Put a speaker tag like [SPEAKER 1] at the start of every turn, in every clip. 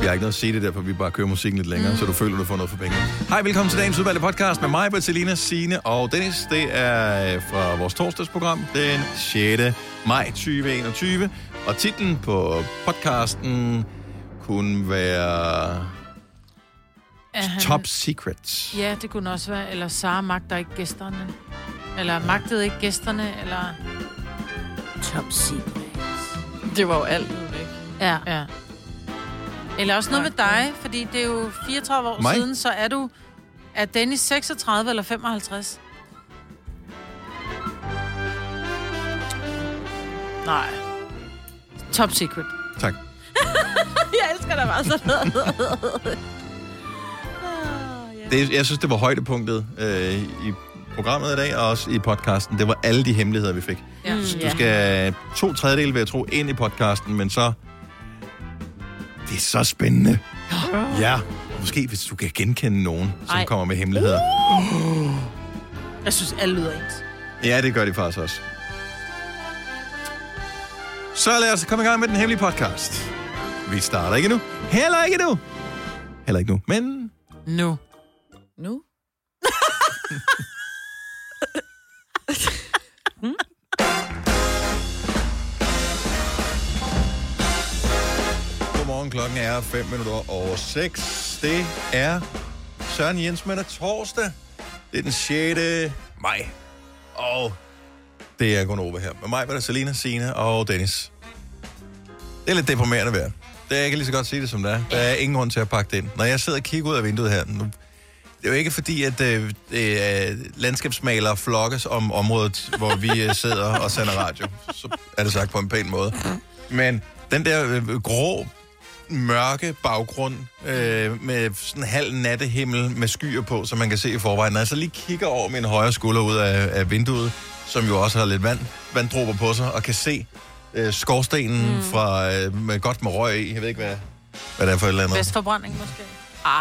[SPEAKER 1] vi har ikke noget at sige det, derfor vi bare kører musikken lidt længere, mm. så du føler, du får noget for pengene. Hej, velkommen til dagens udvalgte podcast med mig, Bertilina, Sine og Dennis. Det er øh, fra vores torsdagsprogram den 6. maj 2021. Og titlen på podcasten kunne være
[SPEAKER 2] Er han-
[SPEAKER 1] Top Secrets.
[SPEAKER 2] Ja, det kunne også være. Eller Sara magter ikke gæsterne. Eller magtede ikke gæsterne, eller...
[SPEAKER 3] Top secret.
[SPEAKER 4] Det var jo alt, jo, ikke?
[SPEAKER 2] Ja. ja. Eller også noget med dig, fordi det er jo 34 år
[SPEAKER 1] Mig?
[SPEAKER 2] siden, så er du... Er Dennis 36 eller 55? Nej. Top secret.
[SPEAKER 1] Tak.
[SPEAKER 3] Jeg elsker dig bare sådan noget.
[SPEAKER 1] Det, jeg synes, det var højdepunktet øh, i programmet i dag, og også i podcasten. Det var alle de hemmeligheder, vi fik.
[SPEAKER 2] Mm, Ja.
[SPEAKER 1] Så du skal to tredjedele, vil jeg tro, ind i podcasten, men så... Det er så spændende. Ja, og måske hvis du kan genkende nogen, som
[SPEAKER 2] Ej. Uh.
[SPEAKER 1] kommer med hemmeligheder.
[SPEAKER 2] Jeg synes, alle lyder ens.
[SPEAKER 1] Ja, det gør de faktisk også. Så lad os komme i gang med den hemmelige podcast. Vi starter ikke nu. Heller ikke nu. Heller ikke nu, men...
[SPEAKER 2] Nu.
[SPEAKER 4] Nu?
[SPEAKER 1] Godmorgen, klokken er 5 minutter over 6. Det er Søren Jens med torsdag. Det er den 6. maj. Og det er Gunnova her. Med mig var der Selina, Sine og Dennis. Det er lidt deprimerende vejr. Det er jeg kan lige så godt sige det, som det er. Der er ingen grund til at pakke det ind. Når jeg sidder og kigger ud af vinduet her, nu, det er jo ikke fordi, at øh, øh, landskabsmalere flokkes om området, hvor vi øh, sidder og sender radio. Så er det sagt på en pæn måde. Men den der øh, grå, mørke baggrund øh, med sådan en halv nattehimmel med skyer på, som man kan se i forvejen. Når jeg så lige kigger over min højre skulder ud af, af vinduet, som jo også har lidt vand, vanddråber på sig, og kan se øh, skorstenen mm. fra, øh, med godt med røg i. Jeg ved ikke, hvad, hvad det er for et eller andet.
[SPEAKER 2] Vestforbrænding måske.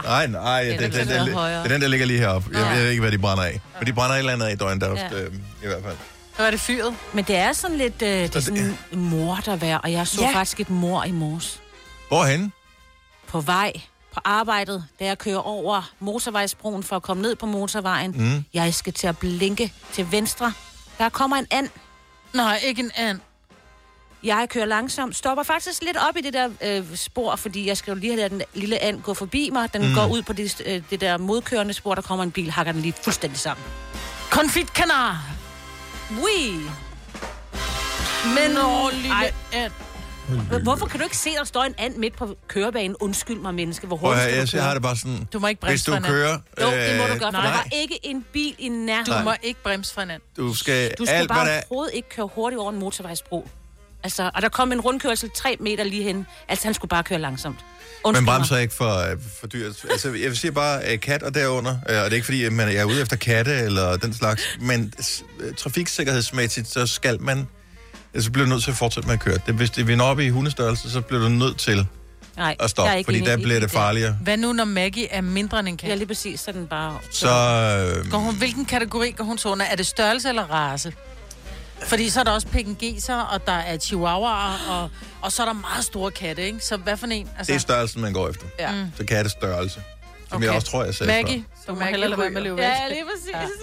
[SPEAKER 1] Nej, nej, det,
[SPEAKER 2] den
[SPEAKER 1] det,
[SPEAKER 2] kan
[SPEAKER 1] det,
[SPEAKER 2] være
[SPEAKER 1] det, det
[SPEAKER 2] højere.
[SPEAKER 1] er den, der ligger lige heroppe. Jeg,
[SPEAKER 2] Nå.
[SPEAKER 1] jeg ved ikke, hvad de brænder af. Men de brænder et eller andet af i døgndrift,
[SPEAKER 2] Ja.
[SPEAKER 1] ja. øh, i hvert fald.
[SPEAKER 2] Så er det fyret.
[SPEAKER 3] Men det er sådan lidt øh, det er
[SPEAKER 1] det-
[SPEAKER 3] sådan mordervejr, og jeg så
[SPEAKER 4] Ja.
[SPEAKER 3] ja. faktisk et mor i morges.
[SPEAKER 1] Hvorhen?
[SPEAKER 3] På vej på arbejdet, da jeg kører over motorvejsbroen for at komme ned på motorvejen. Mm. Jeg skal til at blinke til venstre. Der kommer en and.
[SPEAKER 2] Nej, ikke en and.
[SPEAKER 3] Jeg kører langsomt, stopper faktisk lidt op i det der øh, spor, fordi jeg skal jo lige have ladet den lille and gå forbi mig. Den mm. går ud på det, øh, det der modkørende spor, der kommer en bil, hakker den lige fuldstændig sammen.
[SPEAKER 2] Konfit kanar.
[SPEAKER 3] Ui!
[SPEAKER 2] Men åh, lille
[SPEAKER 3] Ej.
[SPEAKER 2] and.
[SPEAKER 3] Hvorfor kan du ikke se, der står en and midt på kørebanen? Undskyld mig, menneske. Hvor
[SPEAKER 1] Prøv
[SPEAKER 3] hurtigt
[SPEAKER 1] at høre,
[SPEAKER 3] skal du køre?
[SPEAKER 1] jeg, jeg har det bare sådan...
[SPEAKER 2] Du må ikke bremse
[SPEAKER 1] Hvis du
[SPEAKER 2] for en and.
[SPEAKER 1] kører... øh,
[SPEAKER 3] Jo, det må du gøre, for der var
[SPEAKER 1] nej,
[SPEAKER 3] ikke en bil i
[SPEAKER 2] Du
[SPEAKER 3] nærheden.
[SPEAKER 2] må ikke bremse for en and.
[SPEAKER 1] du skal...
[SPEAKER 3] Du skulle
[SPEAKER 1] alt, hvad
[SPEAKER 3] bare
[SPEAKER 1] der,
[SPEAKER 3] overhovedet ikke køre hurtigt over en motorvejsbro. Altså, og der kom en rundkørsel tre meter lige hen. Altså, han skulle bare køre langsomt.
[SPEAKER 1] man
[SPEAKER 3] Undskyld
[SPEAKER 1] bremser ikke for, øh, for dyrt. Altså, jeg vil sige bare øh, kat og derunder, øh, og det er ikke fordi, at man er ude efter katte eller den slags, men s- øh, trafiksikkerhedsmæssigt, så skal man... altså, Så bliver du nødt til at fortsætte med at køre. Det, hvis det vinder op i hundestørrelse, så bliver du nødt til
[SPEAKER 3] Nej,
[SPEAKER 1] at
[SPEAKER 3] jeg er
[SPEAKER 1] stoppe,
[SPEAKER 3] ikke
[SPEAKER 1] fordi
[SPEAKER 3] enig
[SPEAKER 1] der
[SPEAKER 3] i
[SPEAKER 1] bliver det farligere.
[SPEAKER 2] Hvad nu, når Maggie er mindre end en
[SPEAKER 3] Ja,
[SPEAKER 2] kat?
[SPEAKER 3] lige præcis. Så er den bare...
[SPEAKER 1] Så... Øh,
[SPEAKER 2] Går hun, hvilken kategori går hun så under? Er det størrelse eller race? Fordi så er der også pekingeser, og der er chihuahuaer, og, og så er der meget store katte, ikke? Så hvad for en? Altså,
[SPEAKER 1] Det er størrelsen, man går efter.
[SPEAKER 4] Ja.
[SPEAKER 1] Mm. Så katte størrelse. Som okay. jeg også tror, jeg sagde
[SPEAKER 2] Maggie, du må
[SPEAKER 4] Maggie
[SPEAKER 2] hellere lade være med at
[SPEAKER 4] ryger.
[SPEAKER 2] løbe væk.
[SPEAKER 3] lige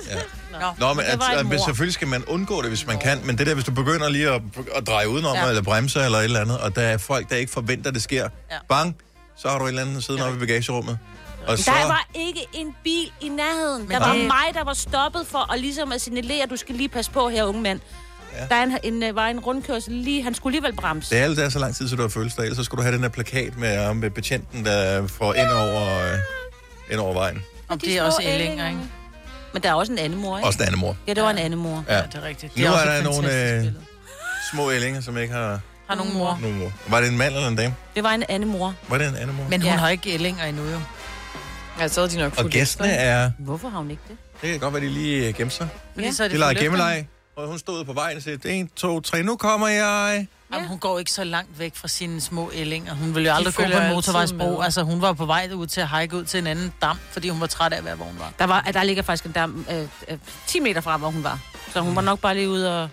[SPEAKER 3] præcis.
[SPEAKER 1] Ja.
[SPEAKER 2] Nå.
[SPEAKER 1] før. Nå, men
[SPEAKER 3] Det var
[SPEAKER 1] at,
[SPEAKER 3] et
[SPEAKER 1] at, hvis,
[SPEAKER 3] mord.
[SPEAKER 1] selvfølgelig skal man undgå det, hvis man kan. Men det der, hvis du begynder lige at, at dreje udenom, ja. eller bremse, eller et eller andet, og der er folk, der ikke forventer, det sker. Ja. Bang, så har du et eller andet siden ja. oppe i bagagerummet. Og så,
[SPEAKER 3] Der var ikke en bil i nærheden. der var
[SPEAKER 2] det-
[SPEAKER 3] mig, der var stoppet for at, ligesom at signalere, at du skal lige passe på her, unge mand. Ja. Der er en, en, øh, var en rundkørsel lige. Han skulle alligevel bremse.
[SPEAKER 1] det er alt, der er så lang tid, så du har følelse af. Ellers så skulle du have den der plakat med, øh, med betjenten, der får ind over, øh, ind over vejen.
[SPEAKER 2] Om
[SPEAKER 3] de
[SPEAKER 2] det er
[SPEAKER 3] små
[SPEAKER 2] også
[SPEAKER 3] ællinger.
[SPEAKER 2] ællinger, ikke?
[SPEAKER 3] Men der er også en anden mor, ikke?
[SPEAKER 1] Også den anden mor.
[SPEAKER 3] Ja, det var en anden mor.
[SPEAKER 1] Ja.
[SPEAKER 2] Ja, det er rigtigt. Det
[SPEAKER 1] Nu
[SPEAKER 2] også
[SPEAKER 1] er
[SPEAKER 2] et
[SPEAKER 1] der nogle,
[SPEAKER 2] fantastisk
[SPEAKER 1] øh,
[SPEAKER 2] billede.
[SPEAKER 1] Små ællinger, som ikke har
[SPEAKER 2] Har nogen mor.
[SPEAKER 1] nogen mor. Var det en mand eller en dame?
[SPEAKER 3] Det var en anden mor.
[SPEAKER 1] Var det en anden mor?
[SPEAKER 2] Men hun
[SPEAKER 3] Ja.
[SPEAKER 2] har ikke ællinger endnu, jo.
[SPEAKER 4] Ja, så havde de nok
[SPEAKER 1] og
[SPEAKER 4] fulgt
[SPEAKER 1] gæstene
[SPEAKER 4] efter,
[SPEAKER 1] er...
[SPEAKER 3] Hvorfor har hun ikke det?
[SPEAKER 1] Det kan godt være, de lige øh, gemte sig.
[SPEAKER 2] Fordi
[SPEAKER 3] Ja.
[SPEAKER 2] så er
[SPEAKER 1] De legede
[SPEAKER 2] forlygtning.
[SPEAKER 1] gemmeleg, og hun stod ude på vejen og sagde, 1, 2, 3, nu kommer jeg.
[SPEAKER 2] Jamen, hun går ikke så langt væk fra sine små ællinger. Hun ville jo aldrig gå
[SPEAKER 4] følger
[SPEAKER 2] på en
[SPEAKER 4] altid
[SPEAKER 2] motorvejsbro.
[SPEAKER 4] med.
[SPEAKER 2] Altså, hun var på vej ud til at hike ud til en anden dam, fordi hun var træt af, hvad hun var.
[SPEAKER 3] Der, var, der ligger faktisk en dam øh, øh, 10 meter fra, hvor hun var. Så hun var nok bare lige ude og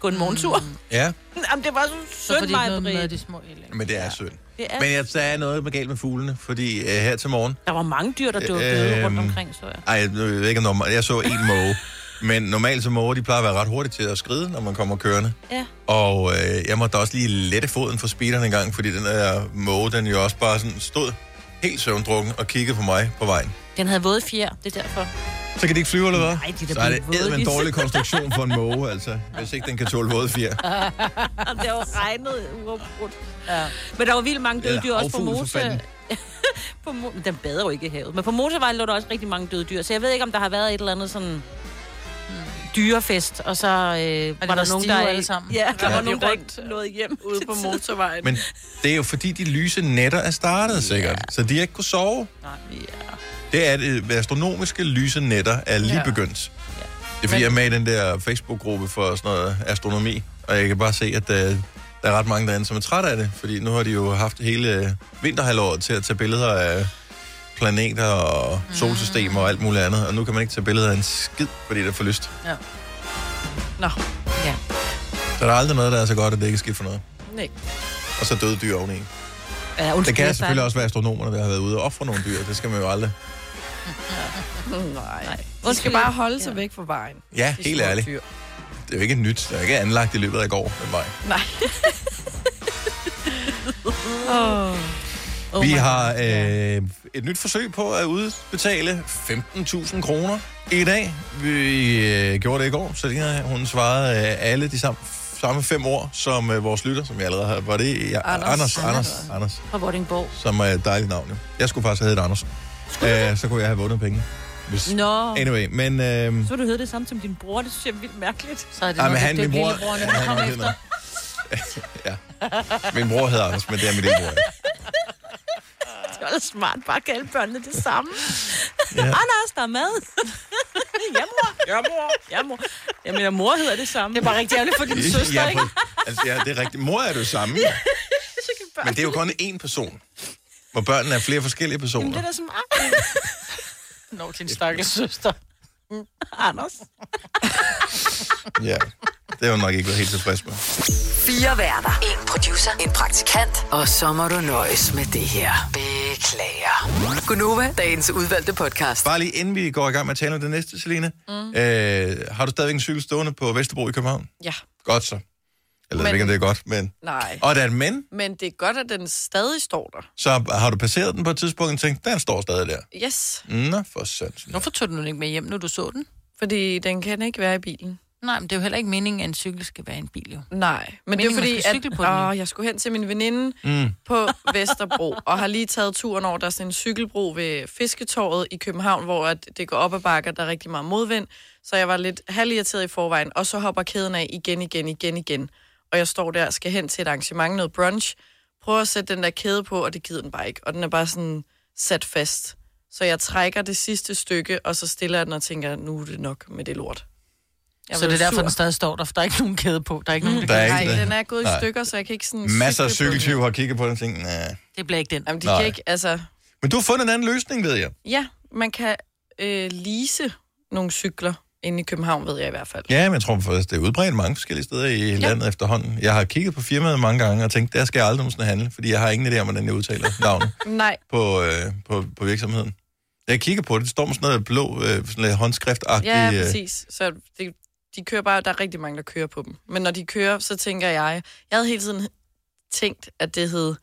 [SPEAKER 3] gå en morgentur.
[SPEAKER 1] Ja,
[SPEAKER 3] Jamen, det var så
[SPEAKER 2] Så får
[SPEAKER 3] synd,
[SPEAKER 2] de ikke noget
[SPEAKER 3] mig,
[SPEAKER 2] med
[SPEAKER 3] Britt.
[SPEAKER 2] de små ældre.
[SPEAKER 1] men det er synd.
[SPEAKER 3] Det er-
[SPEAKER 1] Men jeg, der er noget med galt med fuglene, fordi øh, her til morgen,
[SPEAKER 3] Der var mange dyr, der dukkede
[SPEAKER 1] Øhm.
[SPEAKER 3] rundt omkring, så jeg.
[SPEAKER 1] Ej, jeg ved ikke, om der- jeg så en måge. Men normalt så måger, de plejer at være ret hurtige til at skride, når man kommer kørende.
[SPEAKER 3] Ja.
[SPEAKER 1] Og øh, jeg måtte også lige lette foden for speederen en gang, fordi den der måge, den jo også bare sådan stod helt søvndrukken og kiggede på mig på vejen.
[SPEAKER 3] Den havde våde fjer, det er derfor.
[SPEAKER 1] Så kan de ikke flyve, eller hvad?
[SPEAKER 3] Ej, de er da
[SPEAKER 1] så er det
[SPEAKER 3] blevet våde,
[SPEAKER 1] eddermame en
[SPEAKER 3] de-
[SPEAKER 1] dårlig konstruktion for en måge, altså. Hvis ikke den kan tåle våde fjer.
[SPEAKER 3] Jamen, det har jo regnet uafbrudt. Ja. Men der var vildt mange døde
[SPEAKER 1] Ja,
[SPEAKER 3] dyr, også på
[SPEAKER 1] havfugle for fanden.
[SPEAKER 3] Mose. på Mo- men den bader jo ikke i havet. Men på motorvejen lå der også rigtig mange døde dyr, så jeg ved ikke, om der har været et eller andet sådan hmm, dyrefest, og så øh, var,
[SPEAKER 2] været
[SPEAKER 3] der nogen,
[SPEAKER 2] stive
[SPEAKER 3] der...
[SPEAKER 2] alle sammen?
[SPEAKER 3] Ja, der
[SPEAKER 1] Ja.
[SPEAKER 3] var nogen,
[SPEAKER 4] De
[SPEAKER 3] der
[SPEAKER 4] rundt,
[SPEAKER 3] ikke nåede hjem.
[SPEAKER 4] ude på motorvejen.
[SPEAKER 1] Men det er jo fordi, de lyse nætter er startet, sikkert. Så de har ikke kunne sove. Det er det astronomiske lyse nætter er lige
[SPEAKER 4] Ja.
[SPEAKER 1] begyndt. Det er fordi,
[SPEAKER 4] Men-
[SPEAKER 1] jeg er med i den der Facebook-gruppe for sådan noget astronomi, og jeg kan bare se, at øh, der er ret mange derinde, som er trætte af det, fordi nu har de jo haft hele øh, vinterhalvåret til at tage billeder af planeter og solsystemer og alt muligt andet, og nu kan man ikke tage billeder af en skid, fordi det er for lyst.
[SPEAKER 4] Nå,
[SPEAKER 1] Så der er aldrig noget, der er så godt, at det ikke er skidt for noget.
[SPEAKER 4] nej.
[SPEAKER 1] Og så døde dyr oveni.
[SPEAKER 3] Ja, undskyld,
[SPEAKER 1] Det kan
[SPEAKER 3] jeg
[SPEAKER 1] selvfølgelig
[SPEAKER 3] startede-
[SPEAKER 1] også være astronomerne, der har været ude og ofre nogle dyr. Det skal man jo aldrig.
[SPEAKER 4] Nej. De skal
[SPEAKER 3] Undskyld,
[SPEAKER 4] bare
[SPEAKER 3] jeg-
[SPEAKER 4] holde sig væk fra vejen.
[SPEAKER 1] Ja,
[SPEAKER 4] De
[SPEAKER 1] helt
[SPEAKER 4] små
[SPEAKER 1] ærligt.
[SPEAKER 4] dyr.
[SPEAKER 1] Det er jo ikke nyt. Det er ikke anlagt i løbet af i går med mig.
[SPEAKER 4] Nej. oh.
[SPEAKER 1] Oh vi har øh, et nyt forsøg på at udbetale 15.000 kroner i dag. Vi øh, gjorde det i går, så Lina, hun svarede øh, alle de samme, samme fem ord, som øh, vores lytter, som jeg allerede har. Var det ja, Anders?
[SPEAKER 4] Anders.
[SPEAKER 1] Anders, Anders,
[SPEAKER 4] Anders.
[SPEAKER 1] Anders,
[SPEAKER 3] Fra Vordingborg.
[SPEAKER 1] som er et dejligt navn. Jo. Jeg skulle faktisk have heddet Anders. Æh, så kunne jeg have vundet penge. Hvis...
[SPEAKER 3] Nå,
[SPEAKER 1] Anyway, men...
[SPEAKER 3] så
[SPEAKER 1] Øh,
[SPEAKER 3] vil du hedde det samme som din bror, det synes jeg er vildt mærkeligt.
[SPEAKER 2] Så er det
[SPEAKER 1] Ej, men
[SPEAKER 2] noget,
[SPEAKER 1] han,
[SPEAKER 2] det er
[SPEAKER 1] min bror...
[SPEAKER 2] lillebror,
[SPEAKER 1] ja,
[SPEAKER 2] når han
[SPEAKER 1] han
[SPEAKER 2] kommer
[SPEAKER 1] hedder
[SPEAKER 2] efter.
[SPEAKER 1] noget. ja. Min bror hedder Anders, men det er min lillebror. ikke?
[SPEAKER 3] Det var da smart, bare at kalde børnene det samme.
[SPEAKER 1] Ja.
[SPEAKER 3] Ja. Anders, der er mad. ja, mor. Ja, mor. Ja, mor. Jeg mener, mor hedder det samme.
[SPEAKER 2] Det er bare rigtig ærgerligt for din søster,
[SPEAKER 1] ja,
[SPEAKER 2] ikke?
[SPEAKER 1] på- altså, ja, det er rigtigt. Mor er det jo samme. Ja. Men det er jo kun én person. Hvor børnene er flere forskellige personer.
[SPEAKER 3] Jamen, det er da smart.
[SPEAKER 2] Nå, din stakkels søster.
[SPEAKER 3] Anders.
[SPEAKER 1] Ja. Det har hun nok ikke været helt tilfreds med.
[SPEAKER 5] Fire værter. En producer. En praktikant. Og så må du nøjes med det her. Beklager. Gunova, dagens udvalgte podcast.
[SPEAKER 1] Bare lige inden vi går i gang med at tale om det næste, Selina. Mm. Øh, har du stadigvæk en cykel stående på Vesterbro i København?
[SPEAKER 4] Ja,
[SPEAKER 1] Godt så. Jeg ved
[SPEAKER 4] Men-
[SPEAKER 1] ikke, om det er godt, men...
[SPEAKER 4] nej.
[SPEAKER 1] Og der er et men,
[SPEAKER 4] Men det er godt, at den stadig står der.
[SPEAKER 1] så har du passeret den på et tidspunkt og tænkt, den står stadig der.
[SPEAKER 4] Yes,
[SPEAKER 1] Nå, for sandt.
[SPEAKER 2] Hvorfor tog du den ikke med hjem, når du så den?
[SPEAKER 4] fordi den kan ikke være i bilen.
[SPEAKER 2] Nej, men det er jo heller ikke meningen, at en cykel skal være en bil, jo.
[SPEAKER 4] Nej, men det er
[SPEAKER 2] Meningen, man
[SPEAKER 4] fordi,
[SPEAKER 2] skal cykle
[SPEAKER 4] at
[SPEAKER 2] på den, jo.
[SPEAKER 4] åh, jeg skulle hen til min veninde mm. på Vesterbro, og har lige taget turen over, der er sådan en cykelbro ved Fisketorvet i København, hvor at det går op ad bakker, der er rigtig meget modvind, så jeg var lidt halvirriteret i forvejen, og så hopper kæden af igen, igen, igen, igen. Og jeg står der og skal hen til et arrangement, noget brunch, prøver at sætte den der kæde på, og det gider den bare ikke, og den er bare sådan sat fast. Så jeg trækker det sidste stykke, og så stiller jeg den og tænker, nu er det nok med det lort. Jeg
[SPEAKER 2] så det
[SPEAKER 4] blev
[SPEAKER 2] er derfor,
[SPEAKER 4] sur.
[SPEAKER 2] den stadig står der, for der er ikke nogen kæde på. Mm. Der er ikke nogen,
[SPEAKER 1] Der er
[SPEAKER 4] Nej,
[SPEAKER 1] ikke
[SPEAKER 4] den
[SPEAKER 1] det.
[SPEAKER 4] er gået i
[SPEAKER 1] Nej.
[SPEAKER 4] stykker, så jeg kan ikke sådan...
[SPEAKER 1] Masser af
[SPEAKER 4] cykle på den.
[SPEAKER 1] cykeltyve har kigget på den og tænkt, nej.
[SPEAKER 2] det bliver ikke den.
[SPEAKER 4] Jamen, de
[SPEAKER 1] Nej.
[SPEAKER 4] kan ikke, altså...
[SPEAKER 1] Men du har fundet en anden løsning, ved jeg.
[SPEAKER 4] Ja, man kan øh, lease nogle cykler inde i København, ved jeg i hvert fald.
[SPEAKER 1] Ja, men jeg tror faktisk, det er udbredt mange forskellige steder i ja. landet efterhånden. Jeg har kigget på firmaet mange gange og tænkt, der skal jeg aldrig nogensinde handle, fordi jeg har ingen idé om, hvordan jeg udtaler navnet
[SPEAKER 4] Nej,
[SPEAKER 1] på, øh, på, på virksomheden. Jeg kigger på det, det står med sådan noget blå øh, sådan noget håndskriftagtigt.
[SPEAKER 4] ja,
[SPEAKER 1] øh,
[SPEAKER 4] præcis. Så det, de kører bare, der er rigtig mange, der kører på dem. Men når de kører, så tænker jeg, jeg havde hele tiden tænkt, at det hed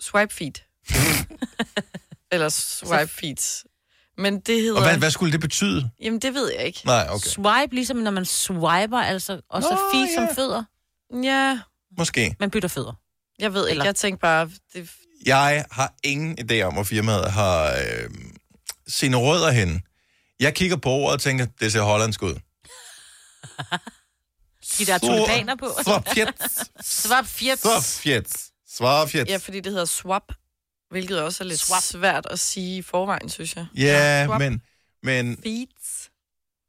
[SPEAKER 4] Swipe Feet. Eller Swipe Feet. Men det hedder...
[SPEAKER 1] og hvad, hvad skulle det betyde?
[SPEAKER 4] Jamen, det ved jeg ikke.
[SPEAKER 1] Nej,
[SPEAKER 3] Okay.
[SPEAKER 1] okay.
[SPEAKER 3] Swipe, ligesom når man swiper, altså, og så
[SPEAKER 1] Nå,
[SPEAKER 3] fi som
[SPEAKER 1] ja.
[SPEAKER 3] fødder.
[SPEAKER 4] Ja,
[SPEAKER 1] Måske.
[SPEAKER 3] Man bytter fødder.
[SPEAKER 4] jeg ved ikke.
[SPEAKER 3] Eller-
[SPEAKER 4] Jeg tænkte bare... Det,
[SPEAKER 1] Jeg har ingen idé om, hvor firmaet har øh, sine rødder henne. Jeg kigger på ordet og tænker, det ser hollandsk ud.
[SPEAKER 3] De der tulipaner på.
[SPEAKER 1] Svapjets.
[SPEAKER 2] Svap fjert.
[SPEAKER 1] Svapjets. Svapjets.
[SPEAKER 4] ja, fordi det hedder Swap, hvilket også er lidt
[SPEAKER 2] Swap.
[SPEAKER 4] swap. svært at sige i forvejen, synes jeg.
[SPEAKER 1] Ja,
[SPEAKER 4] Swap.
[SPEAKER 1] men, men
[SPEAKER 4] Feet.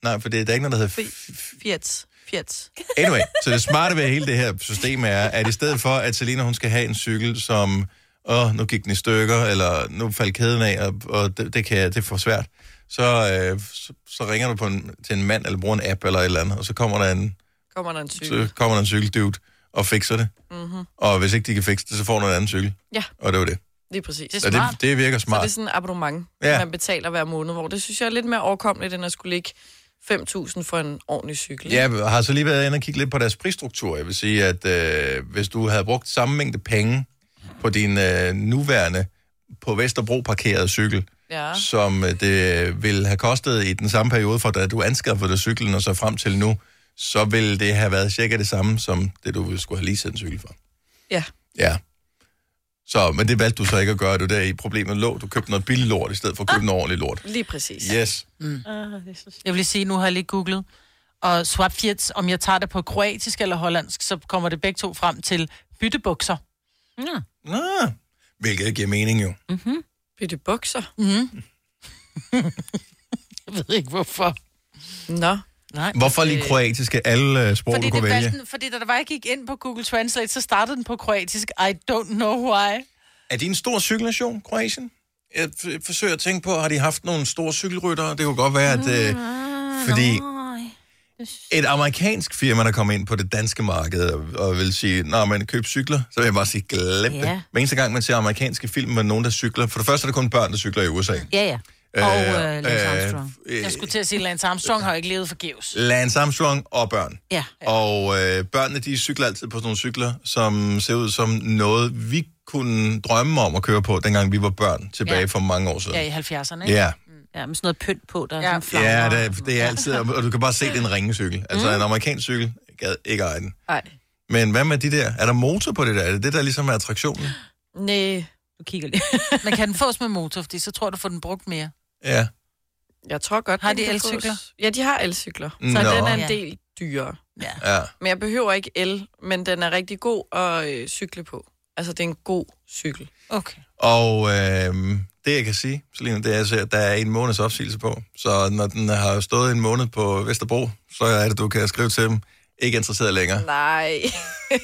[SPEAKER 1] Nej, for det er der er ikke noget, der hedder... f- f-
[SPEAKER 4] Fiat. Fiat.
[SPEAKER 1] Anyway, så det smarte ved hele det her system er, at i stedet for, at Selina hun skal have en cykel, som, åh, nu gik den i stykker, eller nu faldt kæden af, og, og det, det, kan, jeg- det er for svært, så, øh, så, så ringer du på en, til en mand, eller bruger en app, eller et eller andet, og så kommer der en
[SPEAKER 4] kommer der en cykel.
[SPEAKER 1] så kommer der en cykeldude og fikser det.
[SPEAKER 4] Mm-hmm.
[SPEAKER 1] Og hvis ikke de kan fikse det, så får du en anden cykel.
[SPEAKER 4] Ja,
[SPEAKER 1] Og det var det.
[SPEAKER 4] lige præcis.
[SPEAKER 1] Så det, det virker
[SPEAKER 4] Så det
[SPEAKER 1] smart.
[SPEAKER 4] er sådan en abonnement,
[SPEAKER 1] Ja.
[SPEAKER 4] ja. man betaler hver måned, hvor det synes jeg er lidt mere overkommeligt, end at skulle lægge 5.000 for en ordentlig cykel.
[SPEAKER 1] Ja, jeg har så lige været inde og kigge lidt på deres prisstruktur. Jeg vil sige, at øh, hvis du havde brugt samme mængde penge på din øh, nuværende på Vesterbro parkerede cykel,
[SPEAKER 4] Ja.
[SPEAKER 1] som øh, det ville have kostet i den samme periode, fra da du anskaffede dig cyklen og så frem til nu, så ville det have været cirka det samme, som det du ville skulle have leaset en cykel for.
[SPEAKER 4] Ja.
[SPEAKER 1] Ja. Så, men det valgte du så ikke at gøre, det var der i problemet lå. Du købte noget billig lort, i stedet for at købe noget ordentligt lort.
[SPEAKER 4] Lige præcis.
[SPEAKER 1] Yes.
[SPEAKER 2] Jeg vil lige sige, nu har jeg lige googlet, og swap fjets, om jeg tager det på kroatisk eller hollandsk, så kommer det begge to frem til byttebukser.
[SPEAKER 3] Ja.
[SPEAKER 1] Nå, hvilket giver mening jo.
[SPEAKER 4] Bytte bukser.
[SPEAKER 2] Mm. jeg ved ikke, hvorfor.
[SPEAKER 4] Nå.
[SPEAKER 2] Nej.
[SPEAKER 1] Hvorfor lige
[SPEAKER 4] Øh,
[SPEAKER 1] kroatiske alle øh, sprog,
[SPEAKER 2] Fordi,
[SPEAKER 1] du kunne
[SPEAKER 2] det
[SPEAKER 1] vælge?
[SPEAKER 2] valgte, den- fordi da der var, jeg gik ind på Google Translate, så startede den på kroatisk. I don't know why.
[SPEAKER 1] Er de en stor cykelnation, Kroatien? Jeg f- forsøger at tænke på, har de haft nogle store cykelryttere? Det kunne godt være, at øh, fordi et amerikansk firma, der kom ind på det danske marked og, og vil sige, nej, men køb cykler, så vil jeg bare sige, glem det.
[SPEAKER 3] Ja.
[SPEAKER 1] Hver eneste gang, man ser amerikanske film med nogen, der cykler, for det første er det kun børn, der cykler i USA.
[SPEAKER 3] Ja, ja. Og øh, Lance Armstrong.
[SPEAKER 1] øh,
[SPEAKER 2] Jeg skulle til at sige, Lance Armstrong har jo ikke levet forgæves.
[SPEAKER 1] Lance Armstrong og børn.
[SPEAKER 3] Ja.
[SPEAKER 1] Og øh, børnene, de cykler altid på sådan nogle cykler, som ser ud som noget, vi kunne drømme om at køre på, dengang vi var børn, tilbage
[SPEAKER 2] Ja.
[SPEAKER 1] for mange år siden.
[SPEAKER 2] Ja, i 70'erne, ikke?
[SPEAKER 1] Ja,
[SPEAKER 3] ja, med sådan noget pynt på, der er
[SPEAKER 2] Ja.
[SPEAKER 3] sådan flammer.
[SPEAKER 1] ja det, det er altid, og og du kan bare se, det er en
[SPEAKER 2] Mm.
[SPEAKER 1] ringecykel. Altså en amerikansk cykel, jeg gad ikke eje den.
[SPEAKER 4] Nej.
[SPEAKER 1] Men hvad med de der? Er der motor på det der? Er det det, der ligesom er attraktionen?
[SPEAKER 4] Nej,
[SPEAKER 3] Du kigger lige.
[SPEAKER 2] Men kan den fås med motor, fordi så tror jeg, du får den brugt mere.
[SPEAKER 1] Ja.
[SPEAKER 4] jeg tror godt...
[SPEAKER 2] Har
[SPEAKER 4] den
[SPEAKER 2] de
[SPEAKER 4] kan fås.
[SPEAKER 2] elcykler?
[SPEAKER 4] Ja, de har elcykler.
[SPEAKER 1] Nå.
[SPEAKER 4] Så den er
[SPEAKER 2] Ja.
[SPEAKER 4] en del dyrere.
[SPEAKER 2] Ja.
[SPEAKER 1] Ja.
[SPEAKER 4] Men jeg behøver ikke el, men den er rigtig god at øh, cykle på. Altså, det er en god cykel.
[SPEAKER 2] Okay.
[SPEAKER 1] Og øh, det, jeg kan sige, Selina, det er, altså, at der er en måneds opsigelse på. Så når den har stået en måned på Vesterbro, så er det, du kan skrive til dem. Ikke interesseret længere.
[SPEAKER 4] Nej.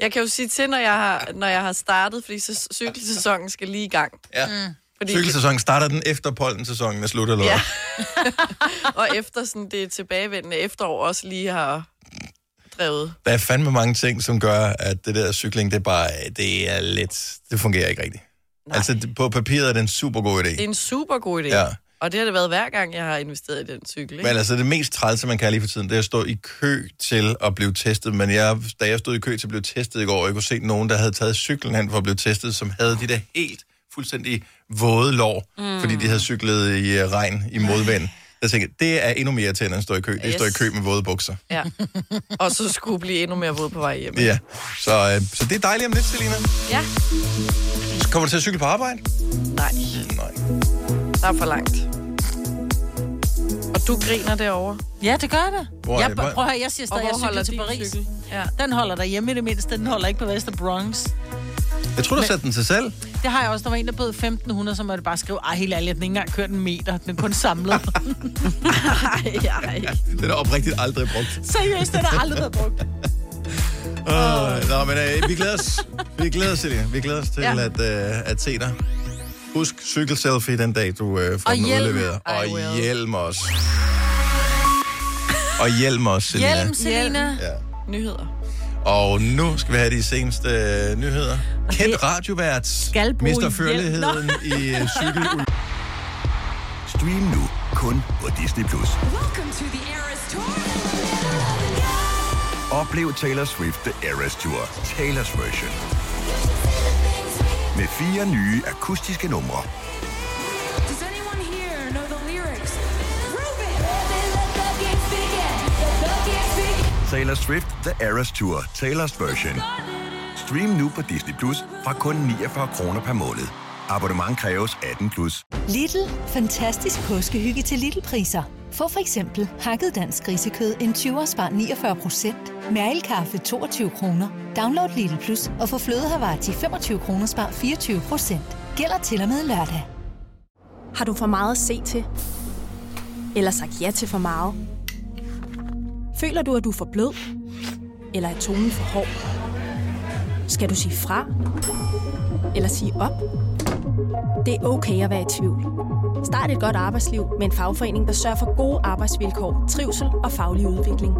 [SPEAKER 4] jeg kan jo sige til, når jeg har, når jeg har startet, fordi så cykelsæsonen skal lige i gang.
[SPEAKER 1] Ja.
[SPEAKER 2] Mm.
[SPEAKER 4] Fordi,
[SPEAKER 1] Cykelsæsonen starter den efter pollensæsonen er slut, eller hvad?
[SPEAKER 4] Ja. og efter sådan det tilbagevendende efterår også lige har drevet.
[SPEAKER 1] Der er fandme mange ting, som gør, at det der cykling, det er bare, det er lidt, det fungerer ikke rigtigt. Nej. Altså, det- på papiret er det en super god idé.
[SPEAKER 4] Det er en super god idé.
[SPEAKER 1] Ja.
[SPEAKER 4] Og det har det været hver gang, jeg har investeret i den cykel. Ikke?
[SPEAKER 1] Men altså, det mest trælse, man kan lige for tiden, det er at stå i kø til at blive testet. Men jeg, da jeg stod i kø til at blive testet i går, jeg kunne se nogen, der havde taget cyklen hen for at blive testet, som havde de der helt fuldstændig våde lår, mm. fordi de havde cyklet i øh, regn, i modvind. Jeg tænkte, det er endnu mere til, end at stå i kø. Det er at stå i
[SPEAKER 4] Yes.
[SPEAKER 1] kø med våde bukser.
[SPEAKER 4] Ja. Og så skulle blive endnu mere våd på vej hjem.
[SPEAKER 1] Ja, så, øh, så det er dejligt om lidt, Selina.
[SPEAKER 4] Ja.
[SPEAKER 1] Kommer du til at cykle på arbejde? Mm,
[SPEAKER 4] Nej,
[SPEAKER 1] Nej.
[SPEAKER 4] der er for langt. Og du griner derovre.
[SPEAKER 2] Ja, det gør det.
[SPEAKER 1] Hvor er
[SPEAKER 2] jeg,
[SPEAKER 1] det?
[SPEAKER 2] prøv at høre, jeg siger
[SPEAKER 4] Og
[SPEAKER 2] stadig, jeg cykler til Paris. Cykel?
[SPEAKER 4] Ja.
[SPEAKER 2] Den holder der hjemme i det mindste. Den holder ikke på Vester Bronx.
[SPEAKER 1] Jeg tror, du satte den til selv.
[SPEAKER 2] Det har jeg også. Der var en, der bød 1.500, så måtte jeg bare skrive, ej, helt ærligt, jeg har ikke engang kørt en meter. Den er kun samlet.
[SPEAKER 4] Ej, ej.
[SPEAKER 1] Den er oprigtigt aldrig brugt.
[SPEAKER 2] Seriøst, den har aldrig været brugt.
[SPEAKER 1] Oh. Nå, men øh, vi glæder os. Vi glæder os til det. Vi glæder os til ja.
[SPEAKER 4] Ja.
[SPEAKER 1] at, øh, at se dig. Husk cykelselfie den dag, du øh, får
[SPEAKER 2] Og
[SPEAKER 1] den
[SPEAKER 2] hjelm.
[SPEAKER 1] udleveret.
[SPEAKER 4] I
[SPEAKER 1] Og
[SPEAKER 4] will.
[SPEAKER 1] hjelm os. Og hjelm os, Selina.
[SPEAKER 2] Hjelm, Selina.
[SPEAKER 1] Ja.
[SPEAKER 4] Nyheder.
[SPEAKER 1] Og nu skal vi have de seneste øh, nyheder. Kendt radiovært
[SPEAKER 3] Skal bruge
[SPEAKER 1] mister
[SPEAKER 3] hjelm.
[SPEAKER 1] førligheden i øh, cykel.
[SPEAKER 6] Stream nu kun på Disney+. Plus. Oplev Taylor Swift The Eras Tour, Taylor's version. Med fire nye akustiske numre.
[SPEAKER 7] Does anyone here know the lyrics? Prove it! Let the games begin. Let the games begin.
[SPEAKER 6] Taylor Swift The Eras Tour, Taylor's version. Stream nu på Disney Plus fra kun 49 kroner per måned. Abonnement kræves 18 plus.
[SPEAKER 8] Little. Fantastisk påskehygge til Little-priser. Få for eksempel hakket dansk grisekød en 20 spar 49 procent, mælkekaffe 22 kroner. Download Little Plus og få flødehavar til 25 kroner spar 24 procent. Gælder til og med lørdag.
[SPEAKER 9] Har du for meget at se til? Eller sagt ja til for meget? Føler du, at du er for blød? Eller er tonen for hård? Skal du sige fra? Eller sige op? Det er okay at være i tvivl. Start et godt arbejdsliv med en fagforening, der sørger for gode arbejdsvilkår, trivsel og faglig udvikling.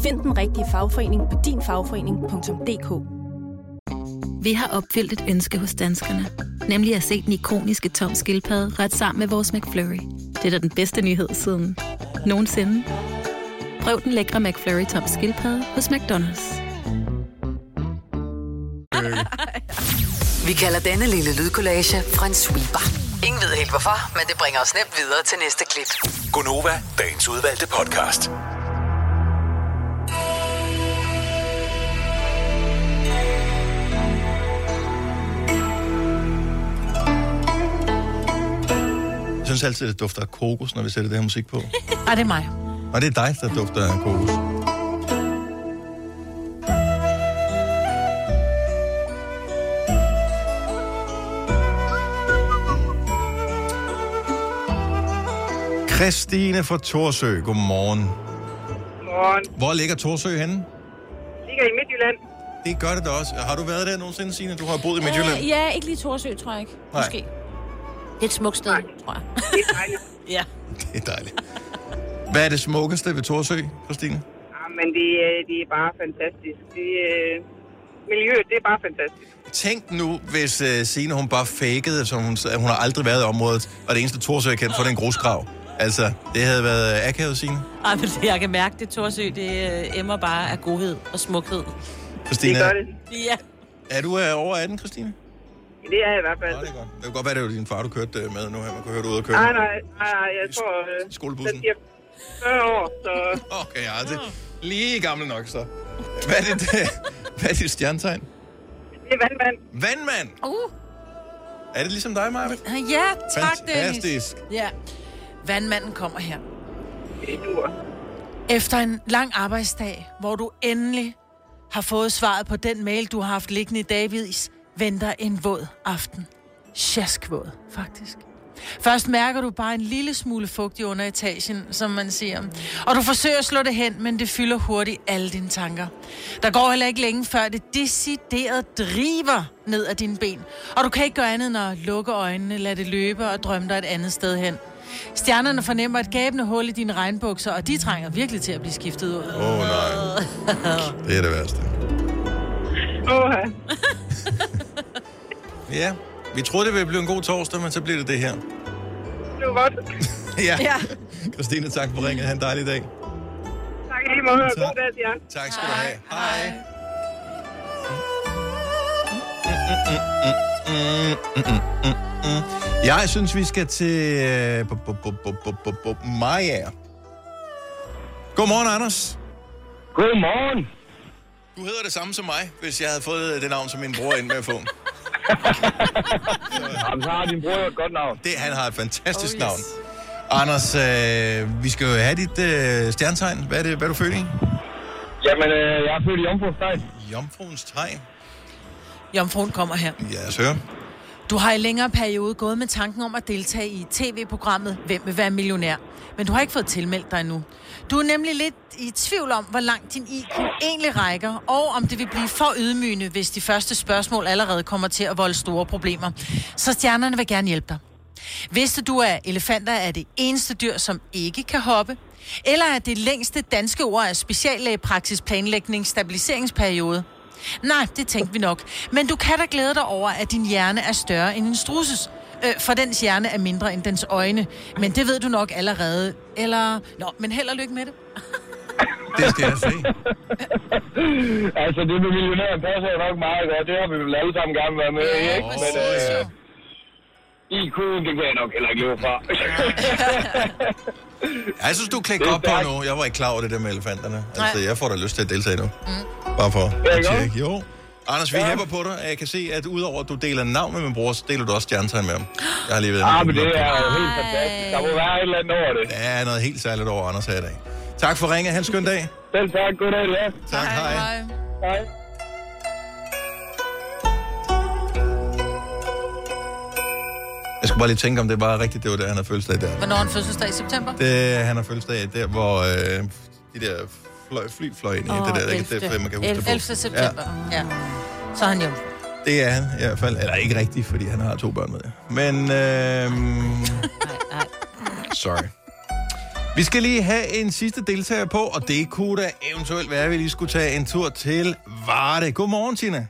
[SPEAKER 9] Find den rigtige fagforening på dinfagforening.dk
[SPEAKER 10] Vi har opfyldt et ønske hos danskerne. Nemlig at se den ikoniske tom skildpadde ret sammen med vores McFlurry. Det er da den bedste nyhed siden nogensinde. Prøv den lækre McFlurry tom skildpadde hos McDonald's.
[SPEAKER 5] Vi kalder denne lille lydkollage en sweeper. Ingen ved helt hvorfor, men det bringer os nemt videre til næste klip.
[SPEAKER 11] Gunova, dagens udvalgte podcast.
[SPEAKER 1] Jeg synes altid, det dufter af kokos, når vi sætter det her musik på.
[SPEAKER 2] Ej, det er mig.
[SPEAKER 1] Og det er dig, der dufter af kokos. Christine fra Torsø, godmorgen.
[SPEAKER 12] Godmorgen.
[SPEAKER 1] Hvor ligger Torsø henne?
[SPEAKER 12] Ligger i Midtjylland.
[SPEAKER 1] Det gør det da også. Har du været der nogensinde, Signe? Du har boet i Midtjylland.
[SPEAKER 3] Øh, ja, ikke lige Torsø, tror jeg ikke.
[SPEAKER 1] Nej.
[SPEAKER 3] Måske. Det er et smukt sted, tror jeg.
[SPEAKER 12] Det er dejligt.
[SPEAKER 3] ja.
[SPEAKER 1] Det er dejligt. Hvad er det smukkeste ved Torsø, Christine?
[SPEAKER 12] Ja, men det, øh, det er bare fantastisk. Det, øh, miljøet, det er bare fantastisk.
[SPEAKER 1] Tænk nu, hvis uh, Signe, hun bare fakede, som hun, sagde, hun har aldrig været i området, og det eneste Torsø, jeg kendte, for den grusgrav. Altså, det havde været øh, akavet, Signe.
[SPEAKER 3] Ej, men det- jeg kan mærke det, Torsø, det øh, emmer bare af godhed og smukhed.
[SPEAKER 1] Christina,
[SPEAKER 3] Ja.
[SPEAKER 1] er du uh, over 18, Christine?
[SPEAKER 12] Det er jeg i hvert fald.
[SPEAKER 1] det er godt. Det kan godt være, det var din far, du kørte øh, med nu her. Man kunne høre, du er ude at køre.
[SPEAKER 12] Nej, nej, nej, nej, jeg tror... Øh,
[SPEAKER 1] Skolebussen.
[SPEAKER 12] Jeg siger 40 år, så...
[SPEAKER 1] Okay, ja, det lige gammel nok så. Hvad er det, det? Hvad er dit stjernetegn?
[SPEAKER 12] Det er vandmand.
[SPEAKER 1] Vandmand!
[SPEAKER 2] Uh,
[SPEAKER 1] Er det ligesom dig, Maja?
[SPEAKER 2] ja, tak, Dennis.
[SPEAKER 1] Fantastisk.
[SPEAKER 2] Ja. Vandmanden kommer her.
[SPEAKER 12] Det dur.
[SPEAKER 2] Efter en lang arbejdsdag, hvor du endelig har fået svaret på den mail, du har haft liggende i dagvis, venter en våd aften. Sjaskvåd, faktisk. Først mærker du bare en lille smule fugt i underetagen, som man siger. Og du forsøger at slå det hen, men det fylder hurtigt alle dine tanker. Der går heller ikke længe, før det decideret driver ned ad dine ben. Og du kan ikke gøre andet end at lukke øjnene, lade det løbe og drømme dig et andet sted hen. Stjernerne fornemmer et gabende hul i dine regnbukser, og de trænger virkelig til at blive skiftet ud.
[SPEAKER 1] Åh, oh, nej. Det er det værste.
[SPEAKER 12] Åh,
[SPEAKER 1] Ja, vi troede, det ville blive en god torsdag, men så blev det det her.
[SPEAKER 12] det var godt.
[SPEAKER 1] ja. ja. Christine, tak for ringet. Ha' en dejlig dag.
[SPEAKER 12] Tak i lige måde, og
[SPEAKER 1] Tak.
[SPEAKER 12] god dag til jer.
[SPEAKER 1] Tak skal du have. Hej. Jeg synes, vi skal til øh, bu- bu- bu- bu- bu- bu- bu- Maja. Godmorgen, Anders.
[SPEAKER 13] Godmorgen.
[SPEAKER 1] Du hedder det samme som mig, hvis jeg havde fået det navn, som min bror endte med at få. Jamen, så har din bror et godt navn. Det, han har et fantastisk oh, yes. navn. Anders, øh, vi skal jo have dit øh, stjernetegn. Hvad er, det, hvad er du født i?
[SPEAKER 13] Jamen, øh, jeg er født i Jomfruens Tegn.
[SPEAKER 1] Jomfruens Tegn?
[SPEAKER 2] Jomfruen kommer her.
[SPEAKER 1] Ja, så høre.
[SPEAKER 2] Du har i længere periode gået med tanken om at deltage i tv-programmet Hvem vil være millionær? Men du har ikke fået tilmeldt dig endnu. Du er nemlig lidt i tvivl om, hvor langt din IQ egentlig rækker, og om det vil blive for ydmygende, hvis de første spørgsmål allerede kommer til at volde store problemer. Så stjernerne vil gerne hjælpe dig. Vidste du, at elefanter er det eneste dyr, som ikke kan hoppe? Eller er det længste danske ord af speciallægepraksis planlægning stabiliseringsperiode? Nej, det tænkte vi nok. Men du kan da glæde dig over, at din hjerne er større end en strusses. Øh, for dens hjerne er mindre end dens øjne. Men det ved du nok allerede. Eller... Nå, men held og lykke med det.
[SPEAKER 1] Det skal jeg se.
[SPEAKER 13] altså, det med millionæren passer jo nok meget godt. Det har vi vel alle sammen gerne været med i, ikke? Men, øh, IQ'en, det kan jeg nok heller ikke leve fra.
[SPEAKER 1] Jeg synes, du klikker op på nu. Jeg var ikke klar over det der med elefanterne. Altså,
[SPEAKER 13] Nej.
[SPEAKER 1] jeg får da lyst til at deltage nu. Bare for at tjekke. Jo. Anders, vi ja. hæpper på dig. og Jeg kan se, at udover at du deler navn med min bror, så deler du også stjernetegn med ham. Jeg har lige været
[SPEAKER 13] Ah, men det er jo helt fantastisk. Der må være et eller andet over det.
[SPEAKER 1] Der er noget helt særligt over Anders her i dag. Tak for ringet. Ha' en skøn dag.
[SPEAKER 13] Selv tak. God dag, ja.
[SPEAKER 1] Tak, hej.
[SPEAKER 13] Hej.
[SPEAKER 1] Jeg skulle bare lige tænke, om det var rigtigt, det var der, han havde fødselsdag der.
[SPEAKER 2] Hvornår er en fødselsdag i september?
[SPEAKER 1] Det, han har fødselsdag der, hvor øh, de der fløj, fly fløj ind i det der. Det, er
[SPEAKER 2] 11.
[SPEAKER 1] ikke det, man kan huske det på.
[SPEAKER 2] 11. september. Ja. ja. Så er han jo.
[SPEAKER 1] Ja, det er han i hvert fald. Eller ikke rigtigt, fordi han har to børn med. Men, øh, sorry. øhm, Vi skal lige have en sidste deltager på, og det kunne da eventuelt være, at vi lige skulle tage en tur til Varde. Godmorgen, Tina.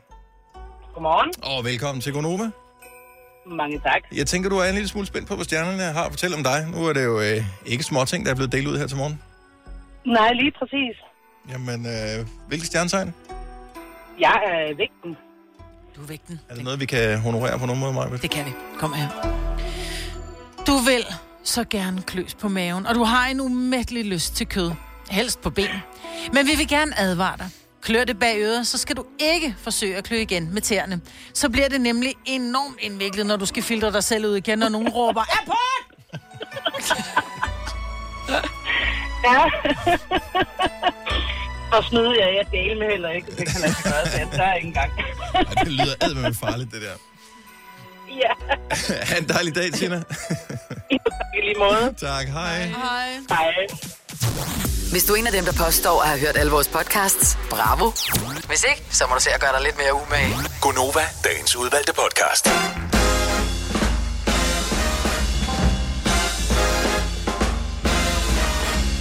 [SPEAKER 12] Godmorgen.
[SPEAKER 1] Og velkommen til Gonova.
[SPEAKER 12] Mange tak.
[SPEAKER 1] Jeg tænker, du er en lille smule spændt på, hvad stjernerne har at fortælle om dig. Nu er det jo øh, ikke småting, der er blevet delt ud her til morgen.
[SPEAKER 12] Nej, lige præcis.
[SPEAKER 1] Jamen, øh, hvilke stjernetegn?
[SPEAKER 12] Jeg er vægten.
[SPEAKER 2] Du er vægten.
[SPEAKER 1] Er det noget, vi kan honorere på nogen måde, Maja?
[SPEAKER 2] Det kan vi. Kom her. Du vil så gerne kløs på maven, og du har en umættelig lyst til kød. Helst på ben. Men vi vil gerne advare dig. Klør det bag øret, så skal du ikke forsøge at klø igen med tæerne. Så bliver det nemlig enormt indviklet, når du skal filtre dig selv ud igen, når nogen råber, Apport!
[SPEAKER 12] Ja. Og snyder jeg, jeg deler med heller ikke. Det kan lade sig gøre, så jeg tør ikke engang.
[SPEAKER 1] Ej, det lyder eddermame farligt, det der.
[SPEAKER 12] Ja,
[SPEAKER 1] ha' en dejlig dag, Tina.
[SPEAKER 12] i lige måde.
[SPEAKER 1] tak, hej.
[SPEAKER 2] Hej.
[SPEAKER 12] Hej.
[SPEAKER 5] Hvis du er en af dem, der påstår at have hørt alle vores podcasts, bravo. Hvis ikke, så må du se at gøre dig lidt mere umage.
[SPEAKER 11] Gonova, dagens udvalgte podcast.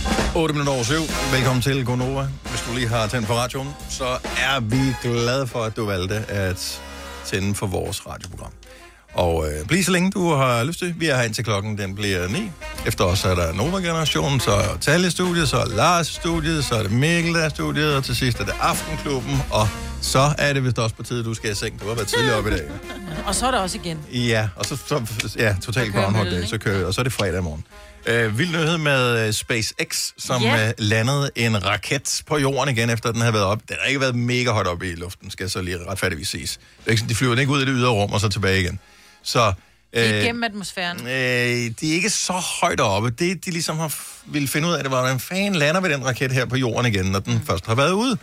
[SPEAKER 1] hej. 8 minutter over 7. Velkommen til Gonova. Hvis du lige har tændt for radioen, så er vi glade for, at du valgte at tænde for vores radioprogram. Og øh, bliv så længe du har lyst til. Vi er her indtil klokken, den bliver 9. Efter os er der Nova-generationen, så er Talle i studiet, så er Lars i studiet, så er det Mikkel, der er i studiet, og til sidst er det Aftenklubben, og så er det vist også på tide, du skal i seng. Du har været tidligere op i dag.
[SPEAKER 2] Og så er der også igen.
[SPEAKER 1] Ja, og så, så ja, totalt
[SPEAKER 2] kører
[SPEAKER 1] Groundhog
[SPEAKER 2] møllen,
[SPEAKER 1] Day,
[SPEAKER 2] ikke?
[SPEAKER 1] så kører vi, og så er det fredag morgen. Øh, vild nyhed med øh, SpaceX, som
[SPEAKER 2] Ja.
[SPEAKER 1] yeah. øh, landede en raket på jorden igen, efter den havde været op. Den har ikke været mega højt op i luften, skal jeg så lige retfærdigvis ses. Det er ikke sådan, De flyver den ikke ud i det ydre rum, og så tilbage igen. Så, øh,
[SPEAKER 2] Igennem atmosfæren.
[SPEAKER 1] øh, de er ikke så højt oppe. Det, de ligesom har f- ville finde ud af, det var, hvordan fanden lander vi den raket her på jorden igen, når den mm. først har været ude.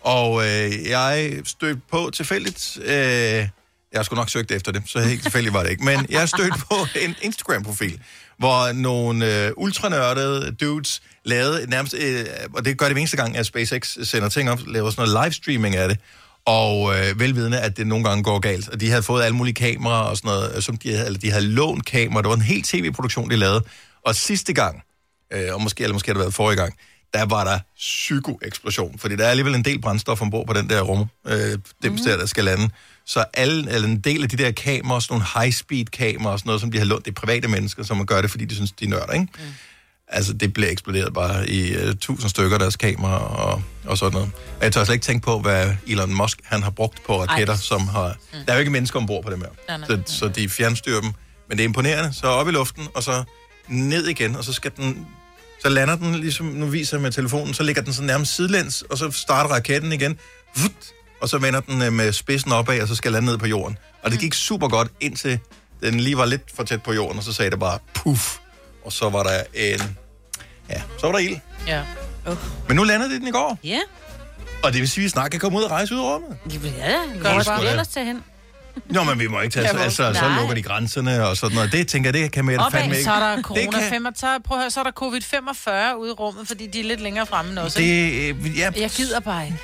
[SPEAKER 1] Og øh, jeg stødte på tilfældigt... Øh, jeg skulle nok søgt efter det, så helt tilfældigt var det ikke. Men jeg stødte på en Instagram-profil, hvor nogle øh, ultranørdede dudes lavede nærmest... Øh, og det gør det hver eneste gang, at SpaceX sender ting op, laver sådan noget livestreaming af det. Og øh, velvidende, at det nogle gange går galt. Og de havde fået alle mulige kameraer og sådan noget, øh, som de havde, eller de havde lånt kameraer. Det var en hel tv-produktion, de lavede. Og sidste gang, øh, og måske, eller måske har det været forrige gang, der var der psykoeksplosion, fordi der er alligevel en del brændstof ombord på den der rum, øh, dem mm. der, der skal lande. Så alle, eller en del af de der kameraer, sådan nogle high-speed kameraer og sådan noget, som de har lånt, det er private mennesker, som gør det, fordi de synes, de er nørder, ikke? Mm. Altså, det blev eksploderet bare i øh, tusind stykker af deres kameraer og, og sådan noget. Og jeg tør slet ikke tænke på, hvad Elon Musk, han har brugt på raketter, Ej. som har... Mm. Der er jo ikke mennesker ombord på dem her.
[SPEAKER 2] Nej, nej,
[SPEAKER 1] så, så de fjernstyrer dem. Men det er imponerende. Så op i luften, og så ned igen, og så skal den så lander den, ligesom nu viser jeg med telefonen, så ligger den så nærmest sidelæns, og så starter raketten igen, vut, og så vender den øh, med spidsen opad, og så skal lande ned på jorden. Og
[SPEAKER 2] Mm.
[SPEAKER 1] det gik super godt, indtil den lige var lidt for tæt på jorden, og så sagde det bare puff, og så var der en... Ja, så var der ild.
[SPEAKER 2] Ja.
[SPEAKER 1] Men nu landede det den i går,
[SPEAKER 3] Ja.
[SPEAKER 1] og det vil sige, at vi snart kan komme ud og rejse ud i rummet.
[SPEAKER 3] Ja,
[SPEAKER 1] Godt
[SPEAKER 3] hvor
[SPEAKER 1] sgu
[SPEAKER 3] skal vi
[SPEAKER 1] da.
[SPEAKER 3] ellers tage hen?
[SPEAKER 1] Nå, men vi må ikke tage...
[SPEAKER 3] Ja,
[SPEAKER 1] Altså, så
[SPEAKER 3] nej.
[SPEAKER 1] lukker de grænserne og sådan noget. Det tænker jeg, det kan Mette fandme
[SPEAKER 2] Opad,
[SPEAKER 1] ikke.
[SPEAKER 2] så er der
[SPEAKER 1] Det
[SPEAKER 2] corona
[SPEAKER 1] kan-
[SPEAKER 2] 5, prøv at høre, så er der covid-45 ude i rummet, fordi de er lidt længere fremme også.
[SPEAKER 1] Det, øh, ja,
[SPEAKER 2] Jeg gider bare ikke.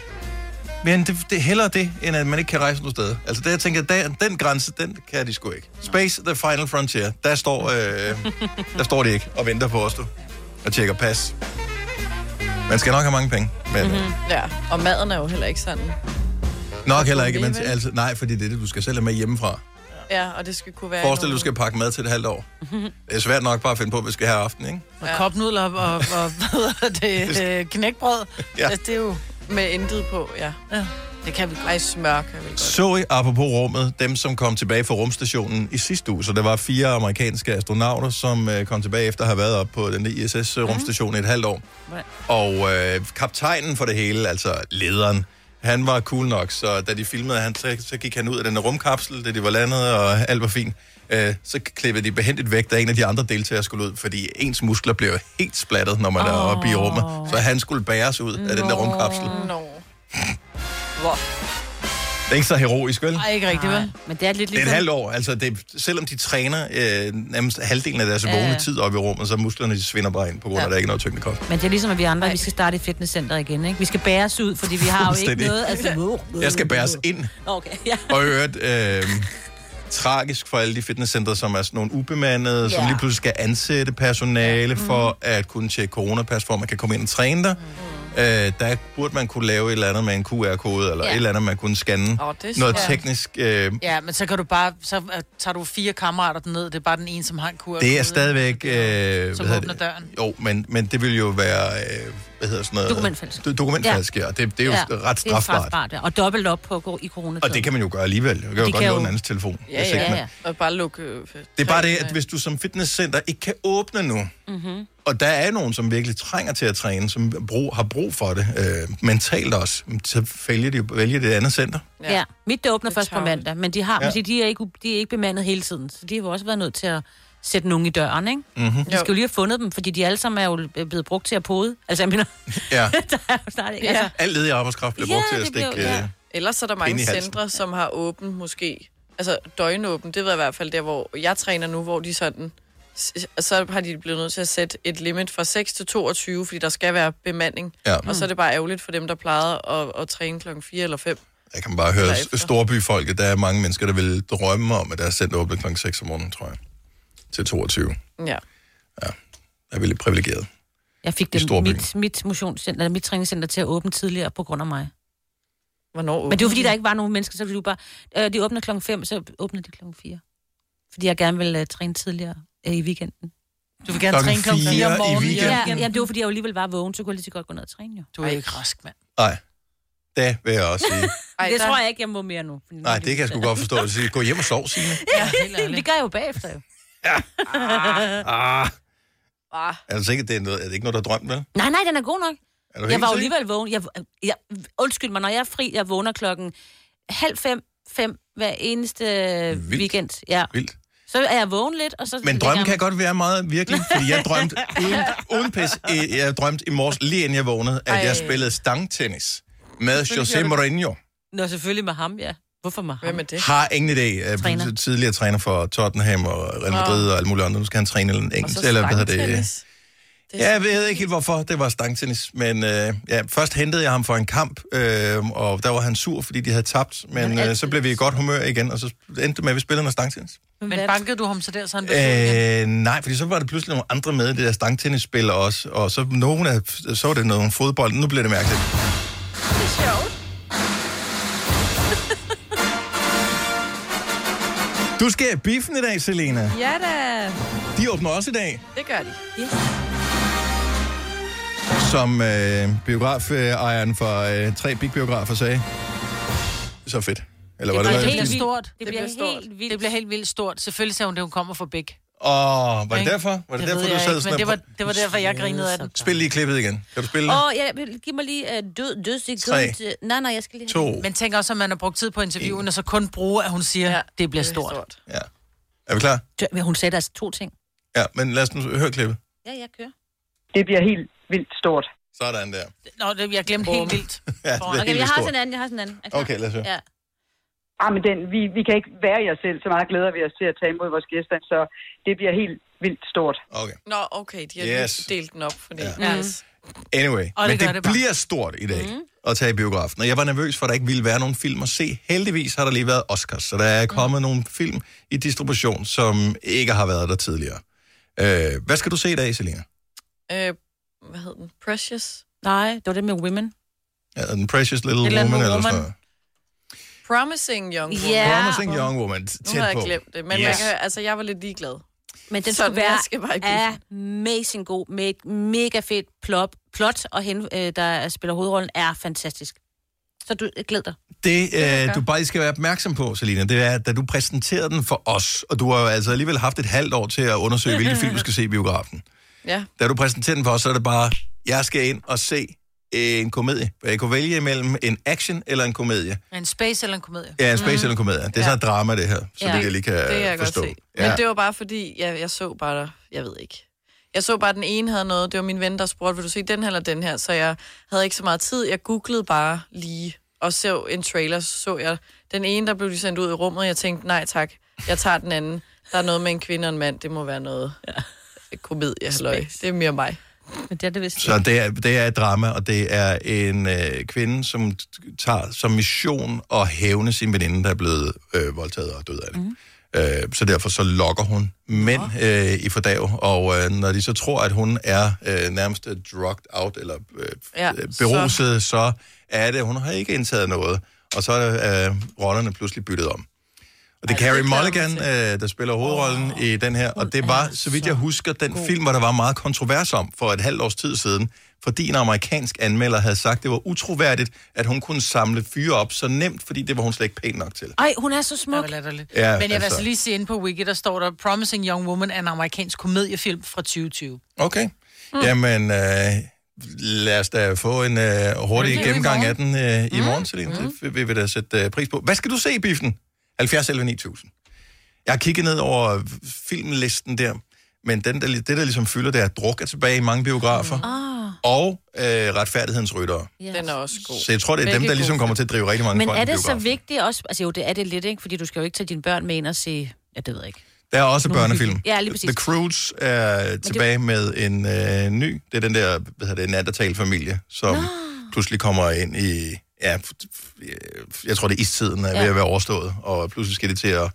[SPEAKER 1] Men det, det er hellere det, end at man ikke kan rejse nogen steder. Altså det, jeg tænker, der, den grænse, den kan de sgu ikke. Space, the final frontier. Der står, øh, der står de ikke og venter på os, du. Og tjekker pas. Man skal nok have mange penge. Men mm-hmm.
[SPEAKER 2] Mhm.
[SPEAKER 4] Ja, og maden er jo heller ikke sådan.
[SPEAKER 1] nok heller ikke. Men,
[SPEAKER 4] Alligevel.
[SPEAKER 1] altså, nej, fordi det er det, du skal selv have med hjemmefra.
[SPEAKER 4] Ja, og det skal kunne være...
[SPEAKER 1] Forestil dig, du skal pakke mad til et halvt år. Det er svært nok bare at finde på, hvad vi skal have i aften, ikke?
[SPEAKER 2] Og kopnudler og, og, og hvad hedder det, øh, knækbrød.
[SPEAKER 1] Ja.
[SPEAKER 2] Ja. Altså, det er jo...
[SPEAKER 4] Med intet på, ja.
[SPEAKER 2] ja. Det kan vi godt.
[SPEAKER 4] Ej, smør kan vi godt.
[SPEAKER 1] Så I apropos rummet, dem som kom tilbage fra rumstationen i sidste uge, så der var fire amerikanske astronauter, som øh, kom tilbage efter at have været op på den ISS-rumstation øh, i et halvt år. Og øh, kaptajnen for det hele, altså lederen, han var cool nok, så da de filmede, han, så, så gik han ud af den her rumkapsel, da de var landet, og alt var fint. Øh, så klippede de behendigt væk, da en af de andre deltagere skulle ud, fordi ens muskler blev helt splattet, når man oh. er oppe i rummet. Så han skulle bæres ud af den der rumkapsel.
[SPEAKER 4] Nå.
[SPEAKER 3] Hvor?
[SPEAKER 1] Det er ikke så heroisk, vel?
[SPEAKER 2] Ej, ikke rigtigt, vel?
[SPEAKER 3] Men det er lidt
[SPEAKER 1] Det er et
[SPEAKER 3] ligesom...
[SPEAKER 1] halvt år. Altså, det, er- selvom de træner øh, nærmest halvdelen af deres
[SPEAKER 3] Ja,
[SPEAKER 1] ja. vågne
[SPEAKER 3] ja.
[SPEAKER 1] tid op i rummet, så musklerne de svinder bare ind, på grund af,
[SPEAKER 3] Ja.
[SPEAKER 1] at der ikke er noget tyngdekraft.
[SPEAKER 3] Men det er ligesom, at vi andre, vi skal starte i fitnesscenteret igen, ikke? Vi skal bæres ud, fordi vi har jo ikke
[SPEAKER 1] Fuldstændig.
[SPEAKER 3] noget... Altså,
[SPEAKER 1] Jeg skal bæres ind.
[SPEAKER 3] Okay, ja.
[SPEAKER 1] Og i øvrigt, øh, tragisk for alle de fitnesscentre, som er sådan nogle ubemandede, yeah. som
[SPEAKER 14] Ja.
[SPEAKER 1] lige pludselig skal ansætte personale mm. for at kunne tjekke coronapas, for at man kan komme ind og træne dig. Mm. Øh, der burde man kunne lave et eller andet med en QR-kode, eller
[SPEAKER 2] Ja.
[SPEAKER 1] yeah. et eller andet, man kunne scanne.
[SPEAKER 2] Åh, det er
[SPEAKER 1] noget
[SPEAKER 2] smart.
[SPEAKER 1] teknisk. Øh,
[SPEAKER 2] Ja, men så kan du bare, så øh, tager du fire kammerater ned, det er bare den ene, som har en kur.
[SPEAKER 1] det er stadigvæk... Øh,
[SPEAKER 2] Som
[SPEAKER 1] hedder
[SPEAKER 2] åbner
[SPEAKER 1] det?
[SPEAKER 2] døren.
[SPEAKER 1] Jo, men, men det vil jo være... Øh, hvad hedder sådan noget?
[SPEAKER 3] Dokumentfalsk.
[SPEAKER 1] Do- Dokumentfalsk, ja. ja. Det, det er jo ja. ret
[SPEAKER 3] Det er
[SPEAKER 1] strafbart.
[SPEAKER 3] strafbart, ja. Og dobbelt op på i corona.
[SPEAKER 1] Og det kan man jo gøre alligevel. Du kan jo
[SPEAKER 3] De
[SPEAKER 1] godt
[SPEAKER 3] kan
[SPEAKER 1] låne
[SPEAKER 3] jo-
[SPEAKER 1] en andens telefon.
[SPEAKER 3] Ja,
[SPEAKER 1] hvis ikke
[SPEAKER 3] ja,
[SPEAKER 1] man-
[SPEAKER 3] ja.
[SPEAKER 4] Og bare lukke... øh,
[SPEAKER 1] Det er bare det,
[SPEAKER 4] tre-
[SPEAKER 1] at hvis du som fitnesscenter ikke kan åbne nu,
[SPEAKER 4] Mhm.
[SPEAKER 1] og der er nogen, som virkelig trænger til at træne, som brug, har brug for det, øh, mentalt også, så vælger de, vælger det andet center.
[SPEAKER 3] Ja. ja. Mit, det åbner først på mandag, men de, har,
[SPEAKER 1] Ja.
[SPEAKER 3] ja. de, er ikke, de er ikke bemandet hele tiden, så de har jo også været nødt til at sætte nogen i døren, ikke? De
[SPEAKER 1] Mhm.
[SPEAKER 3] skal jo lige have fundet dem, fordi de alle sammen er jo blevet brugt til at pode. Altså, jeg mener...
[SPEAKER 1] Ja.
[SPEAKER 3] der er jo snart ikke...
[SPEAKER 4] Ja.
[SPEAKER 3] Altså,
[SPEAKER 1] Al ledig arbejdskraft bliver
[SPEAKER 4] Ja,
[SPEAKER 1] brugt til at
[SPEAKER 4] det
[SPEAKER 1] stikke...
[SPEAKER 4] bliver- ja.
[SPEAKER 1] øh,
[SPEAKER 4] Ellers er der
[SPEAKER 1] Ind i
[SPEAKER 4] mange
[SPEAKER 1] halsen.
[SPEAKER 4] centre, som har åbent måske, altså døgnåbent, det ved jeg i hvert fald der, hvor jeg træner nu, hvor de sådan, s- så har de blevet nødt til at sætte et limit fra 6 til 22, fordi der skal være bemanding.
[SPEAKER 1] Ja.
[SPEAKER 4] Og så er det bare ærgerligt for dem, der plejede at, at træne klokken 4 eller 5.
[SPEAKER 1] Jeg kan bare høre
[SPEAKER 4] Derefter.
[SPEAKER 1] storbyfolket, der er mange mennesker, der vil drømme om, at deres center åbner kl. 6 om morgenen, tror jeg. Til 22.
[SPEAKER 4] Ja.
[SPEAKER 1] Jeg er virkelig privilegeret.
[SPEAKER 3] jeg
[SPEAKER 1] I
[SPEAKER 3] fik det,
[SPEAKER 1] storbyen.
[SPEAKER 3] mit, mit, motionscenter, eller mit træningscenter til at åbne tidligere på grund af mig.
[SPEAKER 4] Hvornår
[SPEAKER 3] Men det var, fordi der ikke var nogen mennesker, så ville du bare... Øh, de åbner klokken 5, så åbner de klokken 4. Fordi jeg gerne ville uh, træne tidligere øh, i weekenden.
[SPEAKER 2] Du vil gerne Klokken træne klokken fire fire om i morgenen i weekenden?
[SPEAKER 3] Ja,
[SPEAKER 2] weekenden.
[SPEAKER 3] jamen, det var, fordi jeg jo alligevel var vågen, så kunne jeg lige så godt gå ned og træne, jo.
[SPEAKER 2] Du er ikke rask, mand.
[SPEAKER 1] Nej, det vil jeg også sige.
[SPEAKER 3] Ej, det der... tror jeg ikke, jeg må mere nu. fordi nu
[SPEAKER 1] Nej,
[SPEAKER 3] er
[SPEAKER 1] det kan jeg sgu
[SPEAKER 3] udtaget.
[SPEAKER 1] godt forstå. at sige, Gå hjem og sov, Signe.
[SPEAKER 3] Ja, det gør jeg jo bagefter, jo.
[SPEAKER 1] Ah,
[SPEAKER 4] Ah.
[SPEAKER 1] er du sikker, det er, noget, er det ikke noget, du har drømt, vel?
[SPEAKER 3] Nej, nej, den er god nok.
[SPEAKER 1] Er du
[SPEAKER 3] Jeg
[SPEAKER 1] helt
[SPEAKER 3] var jo
[SPEAKER 1] sikker?
[SPEAKER 3] alligevel vågen. Jeg, jeg, undskyld mig, når jeg er fri, jeg vågner klokken halv fem, fem hver eneste Vildt. weekend. Ja.
[SPEAKER 1] Vildt.
[SPEAKER 3] Så er jeg vågen lidt, og så...
[SPEAKER 1] Men
[SPEAKER 3] lægger
[SPEAKER 1] drømmen
[SPEAKER 3] jeg
[SPEAKER 1] kan
[SPEAKER 3] mig-
[SPEAKER 1] godt være meget virkelig, fordi jeg drømte uden, uden pis, øh, jeg drømte i morges, lige inden jeg vågnede, at
[SPEAKER 3] Ej.
[SPEAKER 1] jeg spillede stangtennis med
[SPEAKER 3] Selvfølgelig
[SPEAKER 1] José
[SPEAKER 3] gjorde du det.
[SPEAKER 1] Mourinho.
[SPEAKER 3] Nå, selvfølgelig med ham, ja. Hvorfor med ham? Hvem er det?
[SPEAKER 1] Har ingen idé. Øh,
[SPEAKER 3] Træner.
[SPEAKER 1] Tidligere træner for Tottenham og Real Madrid og alt muligt andet. Nu skal han træne en engelsk, eller hvad hedder det?
[SPEAKER 4] stangtennis.
[SPEAKER 1] det ja, jeg ved ikke helt hvorfor. Det var stangtennis. Men øh, ja, først hentede jeg ham for en kamp, øh, og der var han sur, fordi de havde tabt. Men øh, så blev vi i godt humør igen, og så endte det med, at vi spillede noget stangtennis.
[SPEAKER 2] Men bankede du ham så der, så han blev
[SPEAKER 1] Øh, nej, fordi så var der pludselig nogle andre med, det der stangtennisspil også, og så, nogen af, så var det noget om fodbold. Nu bliver det mærkeligt.
[SPEAKER 7] Det er sjovt.
[SPEAKER 1] Du skal i biffen i dag, Selena.
[SPEAKER 4] Ja da,
[SPEAKER 1] De åbner også i dag.
[SPEAKER 4] det gør de. Yes.
[SPEAKER 1] Som øh, biografejeren fra øh, tre big biografer sagde. Så fedt. Eller var
[SPEAKER 2] det
[SPEAKER 1] det,
[SPEAKER 2] bliver
[SPEAKER 1] det,
[SPEAKER 2] helt
[SPEAKER 1] det,
[SPEAKER 2] stort. Det,
[SPEAKER 3] bliver
[SPEAKER 2] helt vildt. Det bliver helt vildt stort. Selvfølgelig sagde hun, at hun kommer fra Bæk.
[SPEAKER 1] Åh, var det derfor? Var
[SPEAKER 2] Det
[SPEAKER 1] det, derfor,
[SPEAKER 2] ved
[SPEAKER 1] du
[SPEAKER 2] jeg
[SPEAKER 1] sad
[SPEAKER 2] ikke,
[SPEAKER 1] sådan
[SPEAKER 2] men
[SPEAKER 1] der
[SPEAKER 2] det var-
[SPEAKER 1] på-
[SPEAKER 2] det var derfor, jeg grinede af den.
[SPEAKER 1] Spil lige klippet igen. Kan du spille det?
[SPEAKER 3] Åh, ja, giv mig lige uh, død, død sekund.
[SPEAKER 1] Tre.
[SPEAKER 3] Nej, nej, jeg skal lige...
[SPEAKER 1] To.
[SPEAKER 2] Men tænk også, at man har brugt tid på interviewen, og så kun bruger, at hun siger, ja, det bliver stort. stort.
[SPEAKER 1] Er vi klar?
[SPEAKER 3] Men hun sagde altså to ting.
[SPEAKER 1] Ja, men lad os nu høre klippet.
[SPEAKER 3] Ja, jeg kører.
[SPEAKER 1] Det bliver helt vildt stort. Sådan der.
[SPEAKER 2] Nå, det, jeg glemte helt vildt.
[SPEAKER 1] Ja, det bliver
[SPEAKER 3] Okay,
[SPEAKER 1] helt
[SPEAKER 3] jeg har
[SPEAKER 1] stort.
[SPEAKER 3] sådan en anden, jeg har sådan en anden. Er klar?
[SPEAKER 1] Okay, lad os høre.
[SPEAKER 3] Ja.
[SPEAKER 14] Ah, men den, vi, vi kan ikke være jer selv, så meget glæder vi os til at tage imod vores gæster, så det bliver helt vildt stort.
[SPEAKER 1] Okay.
[SPEAKER 4] Nå, okay, de har
[SPEAKER 1] Yes.
[SPEAKER 4] yes. delt den op, fordi...
[SPEAKER 1] Ja.
[SPEAKER 4] Ja.
[SPEAKER 1] Anyway,
[SPEAKER 4] Og det
[SPEAKER 1] men
[SPEAKER 4] gør
[SPEAKER 1] det,
[SPEAKER 4] det
[SPEAKER 1] det
[SPEAKER 4] bare. Mhm.
[SPEAKER 1] bliver stort i dag mm. at tage i biografen. Og jeg var nervøs for, at der ikke ville være nogen film at se. Heldigvis har der lige været Oscars, så der
[SPEAKER 4] Mhm.
[SPEAKER 1] er kommet mm. nogle film i distribution, som ikke har været der tidligere. Øh, hvad skal du se i dag, Selina?
[SPEAKER 4] Øh, hvad hed den? Precious?
[SPEAKER 3] Nej, det var det med Women.
[SPEAKER 1] Ja, den Precious Little
[SPEAKER 4] Et eller
[SPEAKER 1] Woman,
[SPEAKER 4] andet
[SPEAKER 1] woman eller
[SPEAKER 4] woman.
[SPEAKER 1] sådan noget.
[SPEAKER 4] Promising Young Woman.
[SPEAKER 1] Ja. Promising Young Woman. Tæt
[SPEAKER 4] Nu havde jeg
[SPEAKER 1] på.
[SPEAKER 4] glemt det, men yes. man
[SPEAKER 1] yes.
[SPEAKER 4] kan, altså, jeg var lidt ligeglad.
[SPEAKER 3] Men den
[SPEAKER 4] Sådan,
[SPEAKER 3] skulle være
[SPEAKER 4] jeg skal bare i
[SPEAKER 3] amazing god med et mega fedt plop, plot, og hende, øh, der spiller hovedrollen, er fantastisk. Så du øh, glæd dig.
[SPEAKER 1] Det, øh, du bare lige skal være opmærksom på, Selina, det er, da du præsenterede den for os, og du har jo altså alligevel haft et halvt år til at undersøge, hvilke film du skal se i biografen.
[SPEAKER 4] Ja.
[SPEAKER 1] Da du præsenterede den for os, så er det bare, jeg skal ind og se øh, en komedie. Jeg kunne vælge imellem en action eller en komedie.
[SPEAKER 2] En space eller en komedie?
[SPEAKER 1] Ja, en space mm. eller en komedie. Det er sådan et drama, det her, så ja. det jeg lige kan
[SPEAKER 4] det kan jeg
[SPEAKER 1] Øh, forstå.
[SPEAKER 4] Godt se.
[SPEAKER 1] Ja.
[SPEAKER 4] Ja. Men det var bare fordi, jeg, jeg så bare, jeg ved ikke. Jeg så bare, at den ene havde noget. Det var min ven, der spurgte, vil du se den her eller den her? Så jeg havde ikke så meget tid. Jeg googlede bare lige og så en trailer, så så jeg den ene, der blev de sendt ud i rummet, og jeg tænkte, nej tak, jeg tager den anden. Der er noget med en kvinde og en mand, det må være noget ja. komedie, halløj. Det er mere mig.
[SPEAKER 3] Men det er det vist.
[SPEAKER 1] Så det er, det er et drama, og det er en øh, kvinde, som t- tager som mission at hævne sin veninde, der er blevet øh, voldtaget og død af det. Mm. Øh, så derfor så lokker hun mænd øh, i fordav, og øh, når de så tror, at hun er øh, nærmest øh, drugged out, eller øh,
[SPEAKER 4] Ja,
[SPEAKER 1] øh, beruset, så. så er det, hun har ikke indtaget noget. Og så er øh, rollerne pludselig byttet om. Og det er Carrie Mulligan, øh, der spiller hovedrollen oh, i den her, og det var, så vidt jeg husker, den god. film, hvor der var meget kontrovers om for et halvt års tid siden, fordi en amerikansk anmelder havde sagt, det var utroværdigt, at hun kunne samle fyre op så nemt, fordi det var hun slet ikke pæn nok til.
[SPEAKER 2] Ej, hun er så smuk. Ja, Men
[SPEAKER 1] Ja,
[SPEAKER 2] jeg vil
[SPEAKER 1] altså.
[SPEAKER 2] altså lige se inde på Wiki, der står der Promising Young Woman er en amerikansk komediefilm fra 2020.
[SPEAKER 1] Okay. Mm. Jamen, øh, lad os da få en øh, hurtig
[SPEAKER 2] Det er jo i
[SPEAKER 1] gennemgang
[SPEAKER 2] morgen.
[SPEAKER 1] af den øh, i morgen, Celine. Mm. Det vil vi da sætte øh, pris på. Hvad skal du se i biffen? 70 11 9000. Jeg har kigget ned over filmlisten der, men den, der, det, der ligesom fylder, det er, at druk er tilbage i mange biografer.
[SPEAKER 3] Ah.
[SPEAKER 1] Og øh, retfærdighedens ryttere.
[SPEAKER 3] Yes. Den er også
[SPEAKER 4] Oh.
[SPEAKER 3] god.
[SPEAKER 1] Så jeg tror, det er dem, der ligesom kommer til at drive rigtig mange
[SPEAKER 3] Men
[SPEAKER 1] folk
[SPEAKER 3] er
[SPEAKER 1] i
[SPEAKER 3] det så
[SPEAKER 1] biografen.
[SPEAKER 3] vigtigt også? Altså jo, det er det lidt, ikke? Fordi du skal jo ikke tage dine børn med ind og se... Ja, det ved jeg ikke.
[SPEAKER 1] Der er også
[SPEAKER 3] Nogle
[SPEAKER 1] børnefilm.
[SPEAKER 3] hyggelige. Ja, lige præcis.
[SPEAKER 1] The Croods er tilbage med en øh, ny. Det er den der, hvad hedder det, nattertalfamilie, som Nå. pludselig kommer ind i... Ja, f- f- øh, jeg tror, det er istiden er ja. ved
[SPEAKER 15] Ja.
[SPEAKER 1] at være overstået, og pludselig skal de til at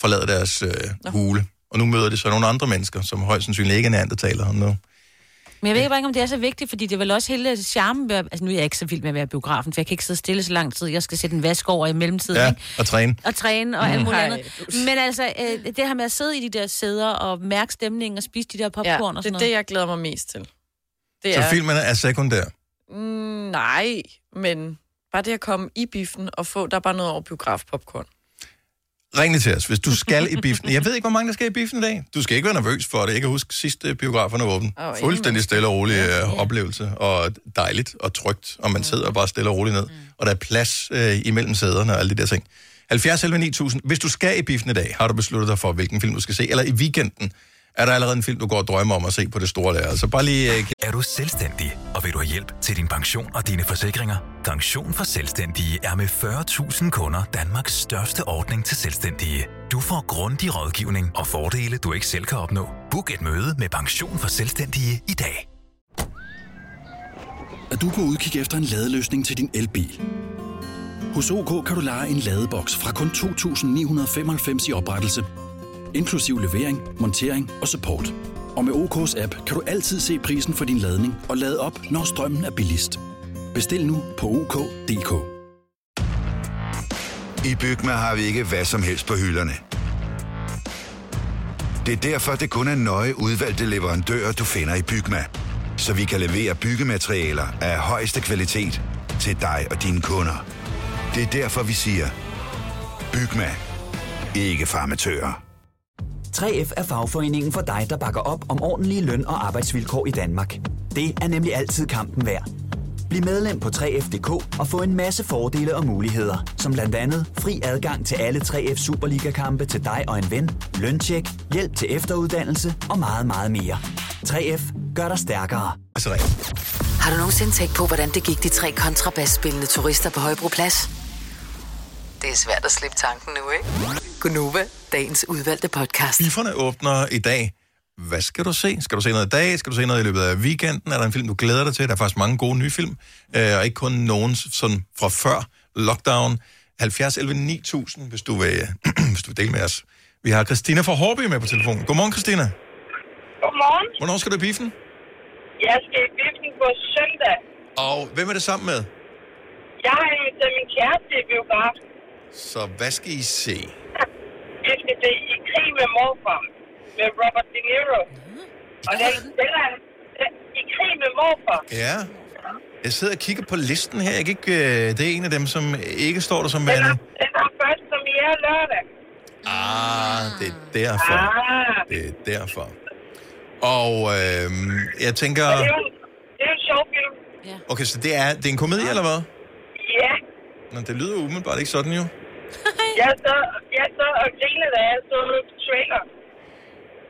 [SPEAKER 1] forlade deres øh, hule. Og nu møder de så nogle andre mennesker, som højst sandsynligt ikke er neandertalere nu.
[SPEAKER 3] Men jeg ved bare ikke, om det er så vigtigt, fordi det er vel også hele charmen ved... at- Altså, nu er jeg ikke så vild med at være i biografen, for jeg kan ikke sidde stille så lang tid. Jeg skal sætte en vask over i mellemtiden,
[SPEAKER 1] Ja,
[SPEAKER 3] ikke?
[SPEAKER 1] og træne.
[SPEAKER 3] Og træne og alt
[SPEAKER 1] Mm.
[SPEAKER 3] muligt
[SPEAKER 1] Ej,
[SPEAKER 3] andet. Men altså, øh, det her med at sidde i de der sæder og mærke stemningen og spise de der popcorn
[SPEAKER 4] Ja,
[SPEAKER 3] og sådan
[SPEAKER 4] det er
[SPEAKER 3] noget.
[SPEAKER 4] det, jeg glæder mig mest til. Det
[SPEAKER 1] Så
[SPEAKER 4] er,
[SPEAKER 1] filmen er sekundær.
[SPEAKER 4] Mm, nej, men bare det at komme i biffen og få, der er bare noget over biografpopcorn.
[SPEAKER 1] Ring lige til os, hvis du skal i biffen. Jeg ved ikke, hvor mange der skal i biffen i dag. Du skal ikke være nervøs for det. Jeg kan huske, sidste biograferne var åben.
[SPEAKER 4] Åh, ingen
[SPEAKER 1] Fuldstændig stille og rolig øh, oplevelse, og dejligt og trygt, og man sidder bare stille og roligt ned. Og der er plads øh, imellem sæderne og alle de der ting. 70 11 9000. Hvis du skal i biffen i dag, har du besluttet dig for, hvilken film du skal se. Eller i weekenden er der allerede en film, du går og drømmer om at se på det store lærred. Så bare lige... Øh,
[SPEAKER 11] Er du selvstændig, og vil du have hjælp til din pension og dine forsikringer? Pension for Selvstændige er med 40.000 kunder Danmarks største ordning til selvstændige. Du får grundig rådgivning og fordele, du ikke selv kan opnå. Book et møde med Pension for Selvstændige i dag.
[SPEAKER 16] er du på udkig efter en ladeløsning til din elbil. Hos OK kan du lege en ladeboks fra kun 2.995 i oprettelse, inklusiv levering, montering og support. Og med OK's app kan du altid se prisen for din ladning og lade op, når strømmen er billigst. Bestil nu på OK.dk.
[SPEAKER 15] I Bygma har vi ikke hvad som helst på hylderne. Det er derfor, det kun er nøje udvalgte leverandører, du finder i Bygma. Så vi kan levere byggematerialer af højeste kvalitet til dig og dine kunder. Det er derfor, vi siger, Bygma. Ikke farmatører.
[SPEAKER 17] 3F er fagforeningen for dig, der bakker op om ordentlige løn- og arbejdsvilkår i Danmark. Det er nemlig altid kampen værd. Bliv medlem på 3F.dk og få en masse fordele og muligheder, som blandt andet fri adgang til alle 3F Superliga-kampe til dig og en ven, løntjek, hjælp til efteruddannelse og meget, meget mere. 3F gør dig stærkere.
[SPEAKER 1] Altså,
[SPEAKER 5] Har du nogensinde tænkt på, hvordan det gik de tre kontrabasspillende turister på Højbroplads? Det er svært at slippe tanken nu, ikke? Gunova, dagens udvalgte podcast.
[SPEAKER 1] Bifferne åbner i dag. Hvad skal du se? Skal du se noget i dag? Skal du se noget i løbet af weekenden? Er der en film, du glæder dig til? Der er faktisk mange gode nye film, øh, og ikke kun nogen sådan fra før lockdown. 70 11 9000, hvis du vil, hvis du vil dele med os. Vi har Christina fra Hårby med på telefonen. Godmorgen, Christina.
[SPEAKER 18] Godmorgen.
[SPEAKER 1] Hvornår skal du i biffen?
[SPEAKER 18] Jeg skal i biffen på søndag.
[SPEAKER 1] Og hvem er det sammen med?
[SPEAKER 18] Jeg har inviteret min kæreste i biografen.
[SPEAKER 1] Så hvad skal I se?
[SPEAKER 18] Vi skal se I krig med morfar med Robert De Niro.
[SPEAKER 14] Mhm.
[SPEAKER 18] Og den, den er den- I krig med morfar.
[SPEAKER 1] Ja. Jeg sidder og kigger på listen her. Jeg kan ikke, øh, det er en af dem, som ikke står der som værende.
[SPEAKER 18] Den er først som i er lørdag.
[SPEAKER 1] Ah, det er derfor.
[SPEAKER 18] Ah.
[SPEAKER 1] Det er Øh, derfor. Og øh, jeg tænker...
[SPEAKER 18] Og det er jo en- det er jo en sjov film. Ja.
[SPEAKER 1] Okay, så det er, det er en komedie, eller hvad?
[SPEAKER 18] ja.
[SPEAKER 1] Nå, det lyder umiddelbart ikke sådan, jo.
[SPEAKER 18] Jeg så, jeg så og grinede, da jeg så trailer.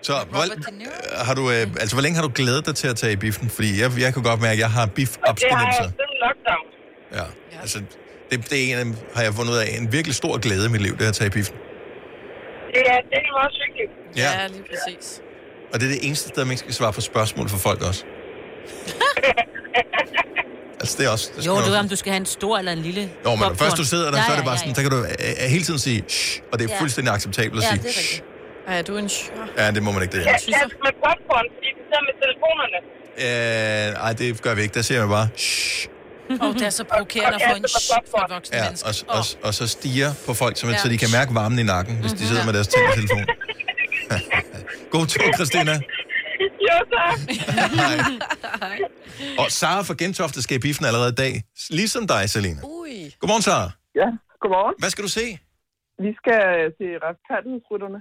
[SPEAKER 1] Så hvor, øh, har du, øh, altså, hvor længe har du glædet dig til at tage i biffen? Fordi jeg, jeg kunne godt mærke, at jeg har
[SPEAKER 18] Og det har jeg
[SPEAKER 1] biff-abstinenser.
[SPEAKER 18] siden lockdown.
[SPEAKER 1] Ja, altså, det, det er en, af dem, har jeg fundet ud af, en virkelig stor glæde i mit liv, det er at tage i biffen.
[SPEAKER 18] Det er, det er meget hyggeligt.
[SPEAKER 1] Ja.
[SPEAKER 4] ja lige præcis.
[SPEAKER 1] Og det er det eneste sted, man ikke skal svare på spørgsmål for folk også. Altså, det er også... Det skal
[SPEAKER 3] Jo,
[SPEAKER 1] man
[SPEAKER 3] det er
[SPEAKER 1] også-
[SPEAKER 3] om du skal have en stor eller en lille
[SPEAKER 1] Jo, men
[SPEAKER 3] popcorn.
[SPEAKER 1] når først du sidder der,
[SPEAKER 3] ja,
[SPEAKER 1] så er det
[SPEAKER 3] ja,
[SPEAKER 1] bare
[SPEAKER 3] ja,
[SPEAKER 1] sådan,
[SPEAKER 3] ja.
[SPEAKER 1] så kan du øh, øh, hele tiden sige, shh, og det er
[SPEAKER 3] Ja.
[SPEAKER 1] fuldstændig acceptabelt at sige, shh.
[SPEAKER 4] Ja, du er en sjov.
[SPEAKER 1] Ja, det må man ikke det
[SPEAKER 18] Ja,
[SPEAKER 1] her.
[SPEAKER 18] ja, med popcorn, fordi de sidder med telefonerne.
[SPEAKER 1] Øh, ej, det gør vi ikke. Der siger man bare, shh.
[SPEAKER 2] Og det er så provokerende at få en shh fra et voksne
[SPEAKER 1] Ja,
[SPEAKER 2] menneske.
[SPEAKER 1] og, og, og så stiger på folk, så, man,
[SPEAKER 2] Ja.
[SPEAKER 1] så de kan mærke varmen i nakken, hvis
[SPEAKER 3] Mhm.
[SPEAKER 1] de sidder med deres tænder telefon. God tur, Christina.
[SPEAKER 18] Jo, så.
[SPEAKER 1] Og Sara fra Gentofte skal i biffen allerede i dag. Ligesom dig, Selina.
[SPEAKER 4] Ui.
[SPEAKER 1] Godmorgen, Sara.
[SPEAKER 19] Ja, godmorgen.
[SPEAKER 1] Hvad skal du se?
[SPEAKER 19] Vi skal øh, se Raspartensrytterne.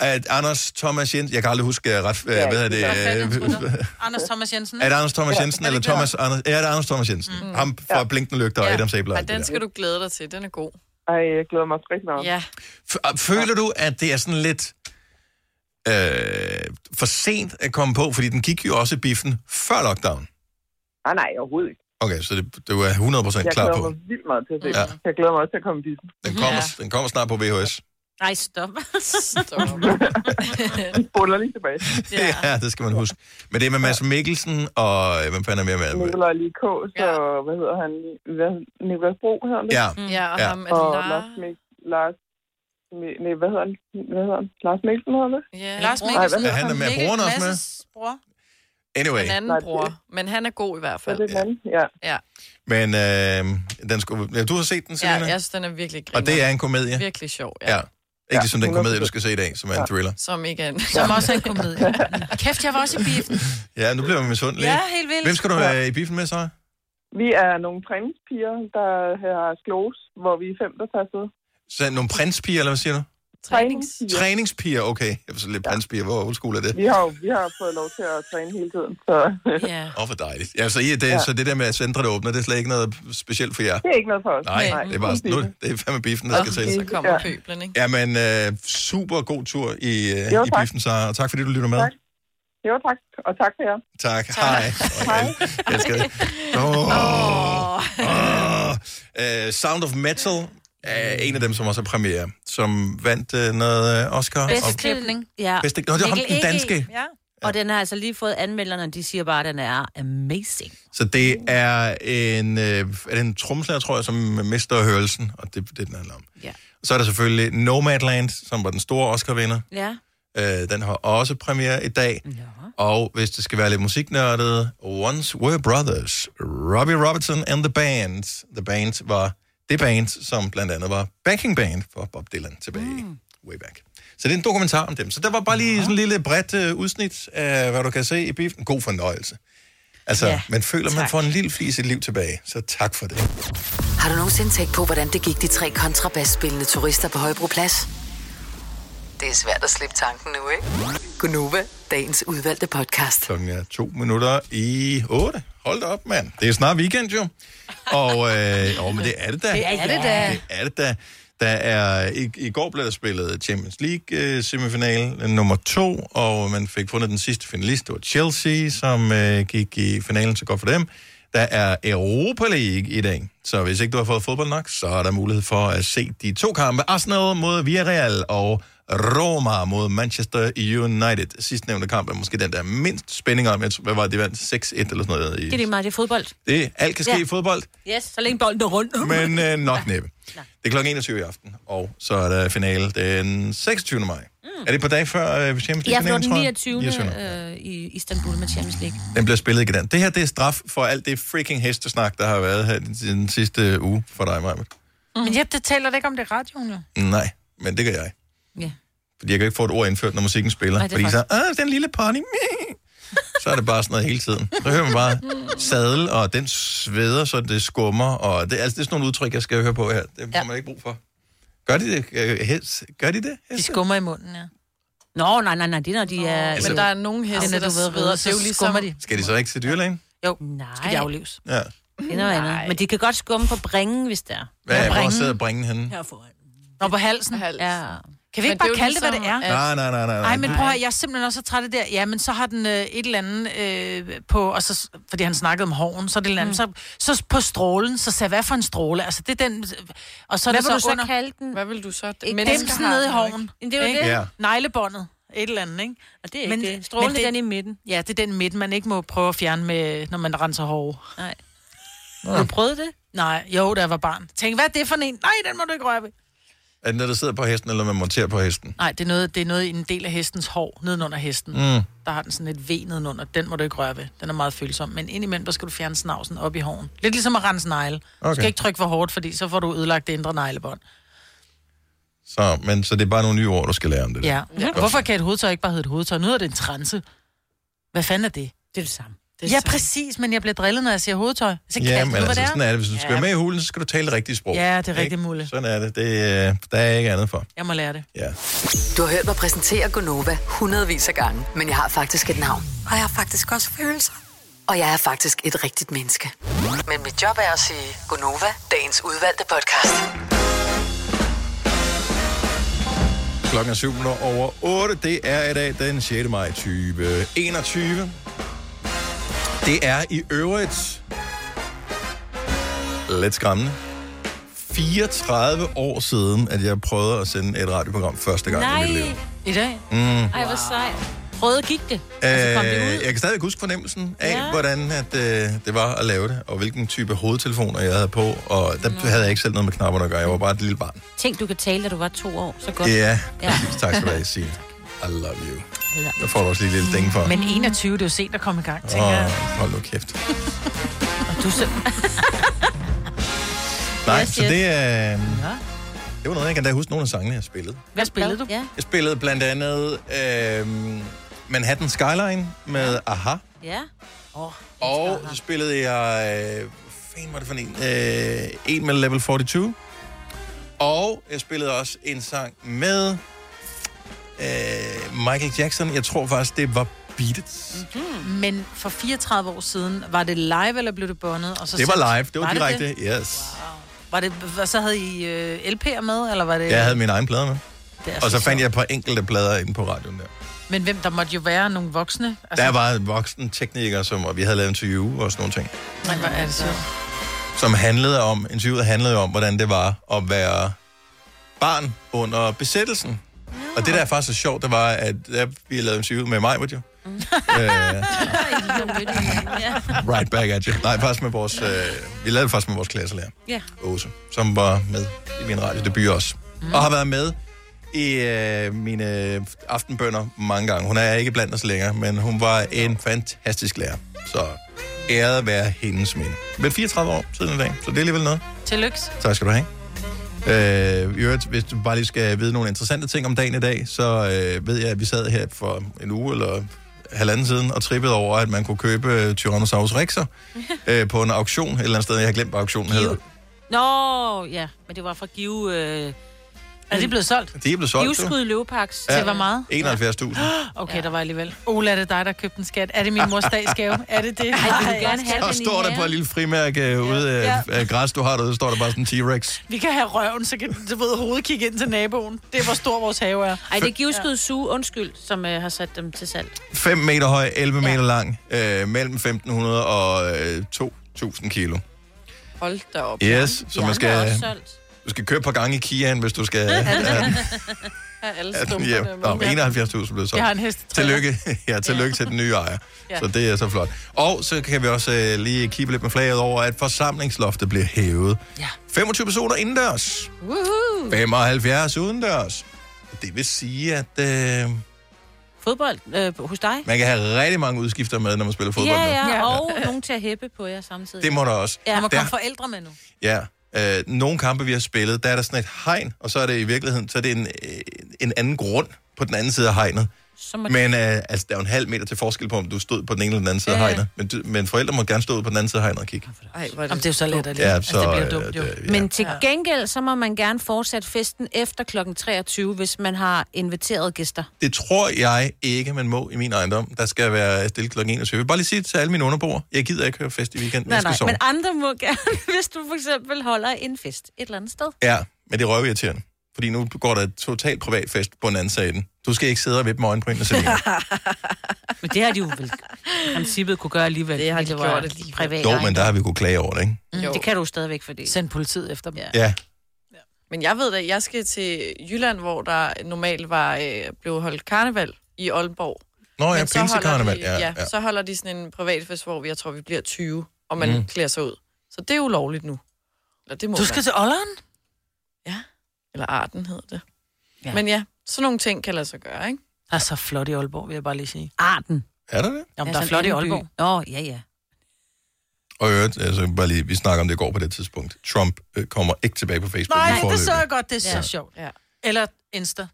[SPEAKER 1] At Anders Thomas Jensen... Jeg kan aldrig huske øh, ret... Ja, hvad hedder det? øh,
[SPEAKER 2] Anders Thomas Jensen.
[SPEAKER 1] Er det Anders Thomas
[SPEAKER 2] Ja.
[SPEAKER 1] Jensen,
[SPEAKER 2] Er det
[SPEAKER 1] eller
[SPEAKER 2] ikke
[SPEAKER 1] Thomas Anders... Ja, det er Anders Thomas Jensen. Mm. Ham fra ja. Blinkende Lygter og Adam Sabler.
[SPEAKER 4] Ej, den skal du glæde dig til. Den er god.
[SPEAKER 19] Ej, jeg glæder mig rigtig meget.
[SPEAKER 4] Ja.
[SPEAKER 1] F- Føler du, at det er sådan lidt øh, for sent at komme på? Fordi den gik jo også i biffen før lockdown.
[SPEAKER 19] Nej, nej, overhovedet ikke.
[SPEAKER 1] Okay, så det, du er 100%
[SPEAKER 19] Jeg
[SPEAKER 1] klar
[SPEAKER 19] glæder
[SPEAKER 1] på.
[SPEAKER 19] mig vildt meget til at se
[SPEAKER 1] Ja.
[SPEAKER 19] ja. Jeg glæder mig også til at komme i biffen.
[SPEAKER 1] Den kommer, den kommer snart på VHS.
[SPEAKER 3] Nej, stop. stop.
[SPEAKER 19] Vi spoler lige tilbage.
[SPEAKER 1] Ja. ja, det skal man huske. Men det er med Mads Mikkelsen og... øh, Hvem fanden er mere med?
[SPEAKER 19] Nikolaj Lee Kås ja. og, hvad hedder han? Hvad, Niklas Bro hedder han det?
[SPEAKER 1] Ja. Mm. Ja, og Ja. ham er det
[SPEAKER 19] og
[SPEAKER 1] Lars-
[SPEAKER 19] Lars, Mik- Lars Mi- Nej, hvad hedder han? Hvad hedder han? Lars Mikkelsen hedder han det?
[SPEAKER 4] Ja,
[SPEAKER 2] Lars
[SPEAKER 19] Nej, hvad
[SPEAKER 2] Mikkelsen.
[SPEAKER 19] hedder
[SPEAKER 1] han er med.
[SPEAKER 2] Mikkel
[SPEAKER 1] Broren er også med.
[SPEAKER 2] Madsens bror.
[SPEAKER 1] Anyway,
[SPEAKER 4] En anden bror. Men han er god i hvert fald.
[SPEAKER 19] Det er den, ja.
[SPEAKER 4] Ja,
[SPEAKER 1] men øh, den skulle, ja, du har set den,
[SPEAKER 4] ja
[SPEAKER 1] Selina?
[SPEAKER 4] jeg synes, den er virkelig
[SPEAKER 1] og
[SPEAKER 4] grineren.
[SPEAKER 1] det er en komedie?
[SPEAKER 4] Virkelig sjov, ja.
[SPEAKER 1] Ja. Ikke
[SPEAKER 4] Ja,
[SPEAKER 1] ligesom den
[SPEAKER 4] 100%.
[SPEAKER 1] komedie, du skal se i dag, som er en thriller.
[SPEAKER 4] Som ikke er en...
[SPEAKER 2] Som også er en komedie. Kæft, jeg var også i biffen.
[SPEAKER 1] Ja, nu bliver man misundelig.
[SPEAKER 2] Ja,
[SPEAKER 1] ikke?
[SPEAKER 2] helt vildt.
[SPEAKER 1] Hvem skal du
[SPEAKER 19] Ja.
[SPEAKER 1] være i biffen med, så?
[SPEAKER 19] Vi er nogle træningspiger, der har slås, hvor vi er fem, der tager afsted.
[SPEAKER 1] så nogle prinspiger, eller hvad siger du?
[SPEAKER 19] Træningspiger.
[SPEAKER 1] Træningspiger, okay. Jeg var så lidt prinspiger. Hvor old school er det?
[SPEAKER 19] Vi har, jo- vi har fået lov til at træne hele tiden, så
[SPEAKER 2] Ja.
[SPEAKER 1] Åh, oh, hvor dejligt. Ja, så, I, det,
[SPEAKER 19] Ja.
[SPEAKER 1] så det der med, at centret åbner, det er slet ikke noget specielt for jer?
[SPEAKER 19] det er ikke noget for os.
[SPEAKER 1] Nej, det er bare sådan, nu, det er fandme biffen, der skal til.
[SPEAKER 4] Så kommer pøblen, ikke?
[SPEAKER 1] Jamen, øh, super god tur i, øh,
[SPEAKER 19] Jo,
[SPEAKER 1] i
[SPEAKER 19] tak.
[SPEAKER 1] biffen, Sara. Og tak fordi du lytter med.
[SPEAKER 19] Tak. Jo, tak. Og tak for jer.
[SPEAKER 1] Tak. tak. Hej.
[SPEAKER 19] Hej.
[SPEAKER 1] Jeg elsker det. Oh. Oh. Uh, Sound of Metal er en af dem, som også er premiere, som vandt uh, noget øh, Oscar.
[SPEAKER 3] Bedste
[SPEAKER 1] Og-
[SPEAKER 3] klipning. Ja.
[SPEAKER 1] Bedste- Nå, det var ham, den
[SPEAKER 3] Mikkel E.G.
[SPEAKER 1] danske.
[SPEAKER 2] Ja.
[SPEAKER 3] Og den har altså lige fået anmelderne, og de siger bare, at den er amazing.
[SPEAKER 1] Så det er en, øh, er det en tromslærer, tror jeg, som mister hørelsen, og det er det, den handler om.
[SPEAKER 3] Ja.
[SPEAKER 1] Så er der selvfølgelig Nomadland, som var den store Oscar-vinder.
[SPEAKER 3] Ja.
[SPEAKER 1] Øh, den har også premiere i dag. Ja. Og hvis det skal være lidt musiknørdet, Once Were Brothers, Robbie Robertson and the Band. The Band var det band, som blandt andet var backing band for Bob Dylan tilbage. Mm. Way back. Så det er en dokumentar om dem. Så der var bare lige sådan en lille bredt øh, udsnit af, hvad du kan se i biffen. God fornøjelse. Altså, ja,
[SPEAKER 5] Ja,
[SPEAKER 1] man føler, man
[SPEAKER 5] tak.
[SPEAKER 1] får en lille flis i sit liv tilbage. Så tak for det.
[SPEAKER 5] Har du nogensinde tænkt på, hvordan det gik de tre kontrabasspillende turister på Højbroplads? Det er svært at slippe tanken nu, ikke? Gunova, dagens udvalgte podcast.
[SPEAKER 1] Klokken er to minutter i otte. Hold da op, mand. Det er snart weekend, jo. Og, øh, åh, men det er det da.
[SPEAKER 2] Det er det da.
[SPEAKER 1] Det er det da. Der er, i, I går blev der spillet Champions League-semifinale nummer to, og man fik fundet den sidste finalist. Det var Chelsea, som øh, gik i finalen, så godt for dem. Der er Europa League i dag, så hvis ikke du har fået fodbold nok, så er der mulighed for at se de to kampe. Arsenal mod Villarreal og Roma mod Manchester United. Sidstnævnte kamp er måske den, der er mindst spænding om. Jeg tror, hvad var det, de vandt 6-1 eller sådan noget.
[SPEAKER 3] Det er
[SPEAKER 1] I.
[SPEAKER 3] lige meget, det er fodbold.
[SPEAKER 1] Det, alt kan ske
[SPEAKER 3] Ja.
[SPEAKER 1] i fodbold.
[SPEAKER 3] Yes, så længe bolden er rundt.
[SPEAKER 1] Men øh, nok næppe. Det er kl. 21 i aften, og så er der finale den 26. maj. Mm. Er det på dag før øh, Champions
[SPEAKER 3] Ja,
[SPEAKER 1] League-finalen,
[SPEAKER 3] for den
[SPEAKER 1] tror jeg?
[SPEAKER 3] 29. Øh, i Istanbul med Champions League.
[SPEAKER 1] Den bliver spillet ikke i dag. Det her, det er straf for alt det freaking hestesnak, der har været her den, den sidste uge for dig, Maja.
[SPEAKER 2] Men Jep, det taler det ikke om det i radioen, jo.
[SPEAKER 1] Nej, men det gør jeg.
[SPEAKER 2] Ja.
[SPEAKER 1] Fordi jeg kan ikke få et ord indført, når musikken spiller.
[SPEAKER 2] Nej,
[SPEAKER 1] Nej,
[SPEAKER 2] det er
[SPEAKER 1] fordi så,
[SPEAKER 2] faktisk-
[SPEAKER 1] ah, den lille pony, meh." så er det bare sådan noget hele tiden. Så hører man bare sadel, og den sveder, så det skummer. Og det, altså, det er sådan nogle udtryk, jeg skal høre på her. Det har man ikke brug for. Gør de det? Øh, Hest? Gør de det?
[SPEAKER 2] De skummer i munden, ja.
[SPEAKER 3] Nå, nej, nej, nej, det er, når de er...
[SPEAKER 1] Altså- Men der er
[SPEAKER 4] nogle
[SPEAKER 2] heste, der sveder,
[SPEAKER 3] så det er jo ligesom... skummer de.
[SPEAKER 1] Skal de så ikke til dyrlægen?
[SPEAKER 3] Jo, nej. skal de aflives.
[SPEAKER 1] Ja.
[SPEAKER 3] Det er noget andet. Men de kan godt skumme på bringen, hvis det er.
[SPEAKER 1] Hvad er, hvor sidder bringen henne?
[SPEAKER 3] Ja.
[SPEAKER 2] Nå, på halsen. Hals.
[SPEAKER 3] Ja.
[SPEAKER 2] Kan vi ikke
[SPEAKER 3] Men det er
[SPEAKER 2] bare
[SPEAKER 3] jo
[SPEAKER 2] kalde det, hvad det er?
[SPEAKER 3] ligesom,
[SPEAKER 1] at- Nej, nej, nej, nej, nej.
[SPEAKER 2] Ej, men prøv at, høre, jeg er simpelthen også så træt af det der. Ja, men så har den øh, et eller andet øh, på, og så, fordi han snakkede om hoven, så er det et eller andet. Mm. Så, så på strålen, så sagde jeg, hvad for en stråle? Altså, det er den... Og så er
[SPEAKER 4] Hvad
[SPEAKER 2] det
[SPEAKER 4] vil
[SPEAKER 2] så
[SPEAKER 4] du så
[SPEAKER 2] under...
[SPEAKER 3] kalde den?
[SPEAKER 4] Hvad vil du så?
[SPEAKER 2] Dimsen nede i hoven.
[SPEAKER 3] Det er jo
[SPEAKER 2] Ikke?
[SPEAKER 3] det. Ja.
[SPEAKER 2] Neglebåndet. Et eller andet, ikke? Altså,
[SPEAKER 3] Og det er ikke det. Strålen er den i midten.
[SPEAKER 2] Ja, det er den i midten, man ikke må prøve at fjerne, med, når man renser hår.
[SPEAKER 3] Nej.
[SPEAKER 1] Nå.
[SPEAKER 2] Har du prøvet det? Nej, jo, da jeg var barn. Tænk, hvad er det for en? Nej, den må du ikke røre ved.
[SPEAKER 1] Er det noget, der sidder på hesten, eller man monterer på hesten?
[SPEAKER 2] Nej, det er noget, det er noget i en del af hestens hår, nedenunder hesten.
[SPEAKER 1] Mm.
[SPEAKER 2] Der har den sådan et V nedenunder. Den må du ikke røre ved. Den er meget følsom. Men indimellem, der skal du fjerne snavsen op i håren. Lidt ligesom at rense negle. Okay. Du
[SPEAKER 1] Okay.
[SPEAKER 2] skal ikke trykke for hårdt, fordi så får du ødelagt det indre neglebånd.
[SPEAKER 1] Så, men, så det er bare nogle nye ord, du skal lære om det. der.
[SPEAKER 2] Ja. ja.
[SPEAKER 1] Godt.
[SPEAKER 2] Hvorfor kan et hovedtøj ikke bare hedde et hovedtøj? Nu er det en transe. Hvad fanden er det?
[SPEAKER 3] Det er det samme.
[SPEAKER 2] Det er ja, præcis, men jeg bliver drillet, når jeg siger hovedtøj. Så
[SPEAKER 1] Ja,
[SPEAKER 2] kast
[SPEAKER 1] men
[SPEAKER 2] nu, hvad
[SPEAKER 1] altså,
[SPEAKER 2] det
[SPEAKER 1] sådan er det. Hvis du
[SPEAKER 2] Ja.
[SPEAKER 1] skal være med i hulen, så skal du tale det rigtige sprog.
[SPEAKER 2] Ja, det er
[SPEAKER 1] Ikke?
[SPEAKER 2] rigtigt, Mulle.
[SPEAKER 1] Sådan er det. det øh, der er ikke andet for.
[SPEAKER 2] Jeg må lære det.
[SPEAKER 1] Ja.
[SPEAKER 5] Du har hørt mig præsentere Gonova hundredvis af gange, men jeg har faktisk et navn.
[SPEAKER 20] Og jeg har faktisk også følelser.
[SPEAKER 5] Og jeg er faktisk et rigtigt menneske. Men mit job er at sige Gonova, dagens udvalgte podcast.
[SPEAKER 1] Klokken er 7 minutter over 8. Det er i dag den 6. maj 2021. Det er i øvrigt lidt skræmmende. 34 år siden, at jeg prøvede at sende et radioprogram første gang i mit liv.
[SPEAKER 3] I dag?
[SPEAKER 1] Mm.
[SPEAKER 3] Ej, hvor sejt. Prøvede gik det? Altså,
[SPEAKER 1] Øh, jeg kan stadig huske fornemmelsen af, ja. hvordan at, øh, det var at lave det, og hvilken type hovedtelefoner jeg havde på. Og der havde jeg ikke selv noget med knapperne at gøre. Jeg var bare et lille barn.
[SPEAKER 3] Tænk, du kan tale, da du var to år. Så godt.
[SPEAKER 1] Ja,
[SPEAKER 3] ja.
[SPEAKER 1] tak skal du have, Signe. I love you. Der får du også lige et lille ding for.
[SPEAKER 2] Men 21, det er jo sent at komme i gang, tænker jeg.
[SPEAKER 1] Åh, hold nu kæft.
[SPEAKER 2] Og du selv.
[SPEAKER 1] Nej,
[SPEAKER 2] Yes,
[SPEAKER 1] så
[SPEAKER 2] yes.
[SPEAKER 1] det er...
[SPEAKER 2] Ja.
[SPEAKER 1] Det var noget, jeg kan da huske nogle af sangene, jeg spillede.
[SPEAKER 2] Hvad spillede du? Ja.
[SPEAKER 1] Jeg spillede blandt andet øh, Manhattan Skyline med Aha.
[SPEAKER 3] Ja. Oh,
[SPEAKER 1] Og så spillede jeg... Øh, hvad fanden var det for en? Øh, en med Level 42. Og jeg spillede også en sang med øh, Michael Jackson. Jeg tror faktisk, det var Beat It.
[SPEAKER 2] Men for 34 år siden, var det live, eller blev det båndet? Og så
[SPEAKER 1] Det var
[SPEAKER 2] sendt?
[SPEAKER 1] live. Det var, direkte.
[SPEAKER 2] Det?
[SPEAKER 1] Yes.
[SPEAKER 2] Var det, og så havde I øh, LP'er med, eller var det...
[SPEAKER 1] Jeg havde mine egne plader med.
[SPEAKER 2] Det er
[SPEAKER 1] Og så
[SPEAKER 2] så
[SPEAKER 1] fandt jeg et par enkelte plader inde på radioen der.
[SPEAKER 2] Men hvem, der måtte jo være nogle voksne.
[SPEAKER 1] Altså... Der var en voksen tekniker, som, og vi havde lavet en interview og sådan nogle ting,
[SPEAKER 2] Nej, hvor er det sjovt.
[SPEAKER 1] som handlede om, interviewet handlede om, hvordan det var at være barn under besættelsen. Og det, der er faktisk så sjovt, det var, at ja, vi havde lavet en interview med mig, jo. Mm. Øh,
[SPEAKER 3] Ja.
[SPEAKER 1] right back at you. Nej, faktisk med vores, øh, vi lavede det faktisk med vores klasselærer,
[SPEAKER 3] ja.
[SPEAKER 1] Åse, som var med i min radiodebut også. Mm. Og har været med i øh, mine aftenbønder mange gange. Hun er ikke blandt os længere, men hun var en fantastisk lærer. Så æret være hendes minde. Men 34 år siden i dag, så det er alligevel noget.
[SPEAKER 2] Tillykke.
[SPEAKER 1] Tak skal du have. Øh, i øvrigt, hvis du bare lige skal vide nogle interessante ting om dagen i dag, så øh, ved jeg, at vi sad her for en uge eller halvanden siden og trippede over, at man kunne købe øh, Tyrannosaurus Rex'er øh, på en auktion et eller andet sted. Jeg har glemt, hvad auktionen hedder.
[SPEAKER 3] Nå, ja. Men det var fra Give... Øh...
[SPEAKER 2] Er det blevet solgt?
[SPEAKER 1] De er blevet solgt. du.
[SPEAKER 3] Giveskud Løveparks.
[SPEAKER 1] Ja.
[SPEAKER 3] Til hvor meget?
[SPEAKER 1] 71.000.
[SPEAKER 2] Okay, ja. der var alligevel. Ola, er det dig, der købte en skat? Er det min mors dagsgave? Er det det? Ej,
[SPEAKER 3] vil du gerne have
[SPEAKER 1] Og står der på et lille frimærke øh, ude af,
[SPEAKER 2] Ja.
[SPEAKER 1] af græs, du har derude, står der bare sådan en T-Rex.
[SPEAKER 2] Vi kan have røven, så kan du ved, hovedet kigge ind til naboen. Det er, hvor stor vores have er.
[SPEAKER 3] Ej, det er Giveskud Suge, undskyld, som øh, har sat dem til salg.
[SPEAKER 1] 5 meter høj, 11 meter lang, øh, mellem 1500 og øh, 2000 kilo.
[SPEAKER 4] Hold da op.
[SPEAKER 1] Yes, så man
[SPEAKER 4] Ja, den er
[SPEAKER 1] skal,
[SPEAKER 4] også solgt.
[SPEAKER 1] du skal køre et par gange i Kiaen, hvis du skal... have-
[SPEAKER 4] Af alle
[SPEAKER 1] have den
[SPEAKER 4] stumperne.
[SPEAKER 1] hjem. Nå, men 71.000 blev
[SPEAKER 4] Jeg har
[SPEAKER 1] solgt.
[SPEAKER 4] en hestetriller.
[SPEAKER 1] Tillykke, ja, tillykke til den nye ejer.
[SPEAKER 4] Ja.
[SPEAKER 1] Så det er så flot. Og så kan vi også øh, lige kigge lidt med flaget over, at forsamlingsloftet bliver hævet. Ja. 25 personer indendørs,
[SPEAKER 3] Woohoo!
[SPEAKER 1] 75 udendørs. Det vil sige, at øh,
[SPEAKER 3] Fodbold øh, hos dig?
[SPEAKER 1] man kan have rigtig mange udskifter med, når man spiller fodbold.
[SPEAKER 3] ja,
[SPEAKER 1] nu.
[SPEAKER 3] ja, ja, og nogen til at hæppe på jer samtidig.
[SPEAKER 1] Det må der også.
[SPEAKER 3] Ja,
[SPEAKER 1] Der må komme Der-
[SPEAKER 2] forældre med nu.
[SPEAKER 1] Ja. Øh, nogle kampe, vi har spillet, der er der sådan et hegn, og så er det i virkeligheden så er det en, øh, en anden grund på den anden side af hegnet.
[SPEAKER 3] Som er-
[SPEAKER 1] Men øh, altså, der er jo en halv meter til forskel på, om du stod på den ene eller den anden side af
[SPEAKER 2] Ja, ja.
[SPEAKER 1] hegnet. Men, du, men forældre må gerne stå ud på den anden side af hegnet og kigge.
[SPEAKER 4] Ej, hvor er det,
[SPEAKER 2] Jamen, det er jo så let at
[SPEAKER 1] Ja,
[SPEAKER 2] lide. altså,
[SPEAKER 1] så,
[SPEAKER 2] det bliver
[SPEAKER 1] øh,
[SPEAKER 2] dumt jo.
[SPEAKER 1] det-
[SPEAKER 3] Men til gengæld, så må man gerne fortsætte festen efter kl. 23, hvis man har inviteret gæster.
[SPEAKER 1] Det tror jeg ikke, man må i min ejendom. Der skal være stille kl. 21. Jeg vil bare lige sige til alle mine underboer, jeg gider ikke høre fest i weekenden.
[SPEAKER 3] Nej,
[SPEAKER 1] jeg skal
[SPEAKER 3] nej,
[SPEAKER 1] sove.
[SPEAKER 3] men andre må gerne, hvis du for eksempel holder en fest et eller andet sted.
[SPEAKER 1] Ja, men det er røvirriterende. Fordi nu går der et totalt privat fest på en anden side af den. Du skal ikke sidde og vippe med øjenbrynene, Selina.
[SPEAKER 3] Men det har de jo vel i princippet kunne gøre alligevel. Det har de
[SPEAKER 4] gjort
[SPEAKER 3] alligevel. Privat
[SPEAKER 1] Jo, men der har vi kunnet klage over det, ikke?
[SPEAKER 3] Mm, det kan du jo stadigvæk, fordi...
[SPEAKER 2] Send politiet efter dem. Ja.
[SPEAKER 1] Ja.
[SPEAKER 4] Men jeg ved da, jeg skal til Jylland, hvor der normalt var øh, blev holdt karneval i Aalborg.
[SPEAKER 1] Nå ja,
[SPEAKER 4] Men så holder
[SPEAKER 1] pinsekarneval,
[SPEAKER 4] De,
[SPEAKER 1] ja,
[SPEAKER 4] ja,
[SPEAKER 1] ja.
[SPEAKER 4] så holder de sådan en privatfest, hvor vi, jeg tror, vi bliver 20, og man
[SPEAKER 1] Mm.
[SPEAKER 4] mm. klæder sig ud. Så det er ulovligt nu. Eller det må
[SPEAKER 2] Du skal til Olleren?
[SPEAKER 4] Ja. Eller Arten hedder det. Ja. Men ja, sådan nogle ting kan lade sig gøre, ikke?
[SPEAKER 2] Der er så flot i Aalborg, vil jeg bare lige sige.
[SPEAKER 3] Arten.
[SPEAKER 1] Er der det?
[SPEAKER 2] Jamen,
[SPEAKER 3] Ja,
[SPEAKER 2] der er
[SPEAKER 3] sådan
[SPEAKER 2] flot i
[SPEAKER 3] en by.
[SPEAKER 2] Aalborg.
[SPEAKER 3] Nå, ja, ja.
[SPEAKER 1] Og i øvrigt, altså, bare lige, vi snakker om det i går på det tidspunkt. Trump øh, kommer ikke tilbage på Facebook.
[SPEAKER 2] Nej,
[SPEAKER 1] lige
[SPEAKER 2] det
[SPEAKER 1] foreløbig.
[SPEAKER 2] så jeg godt. Det er så
[SPEAKER 1] Ja.
[SPEAKER 2] sjovt. Eller Insta.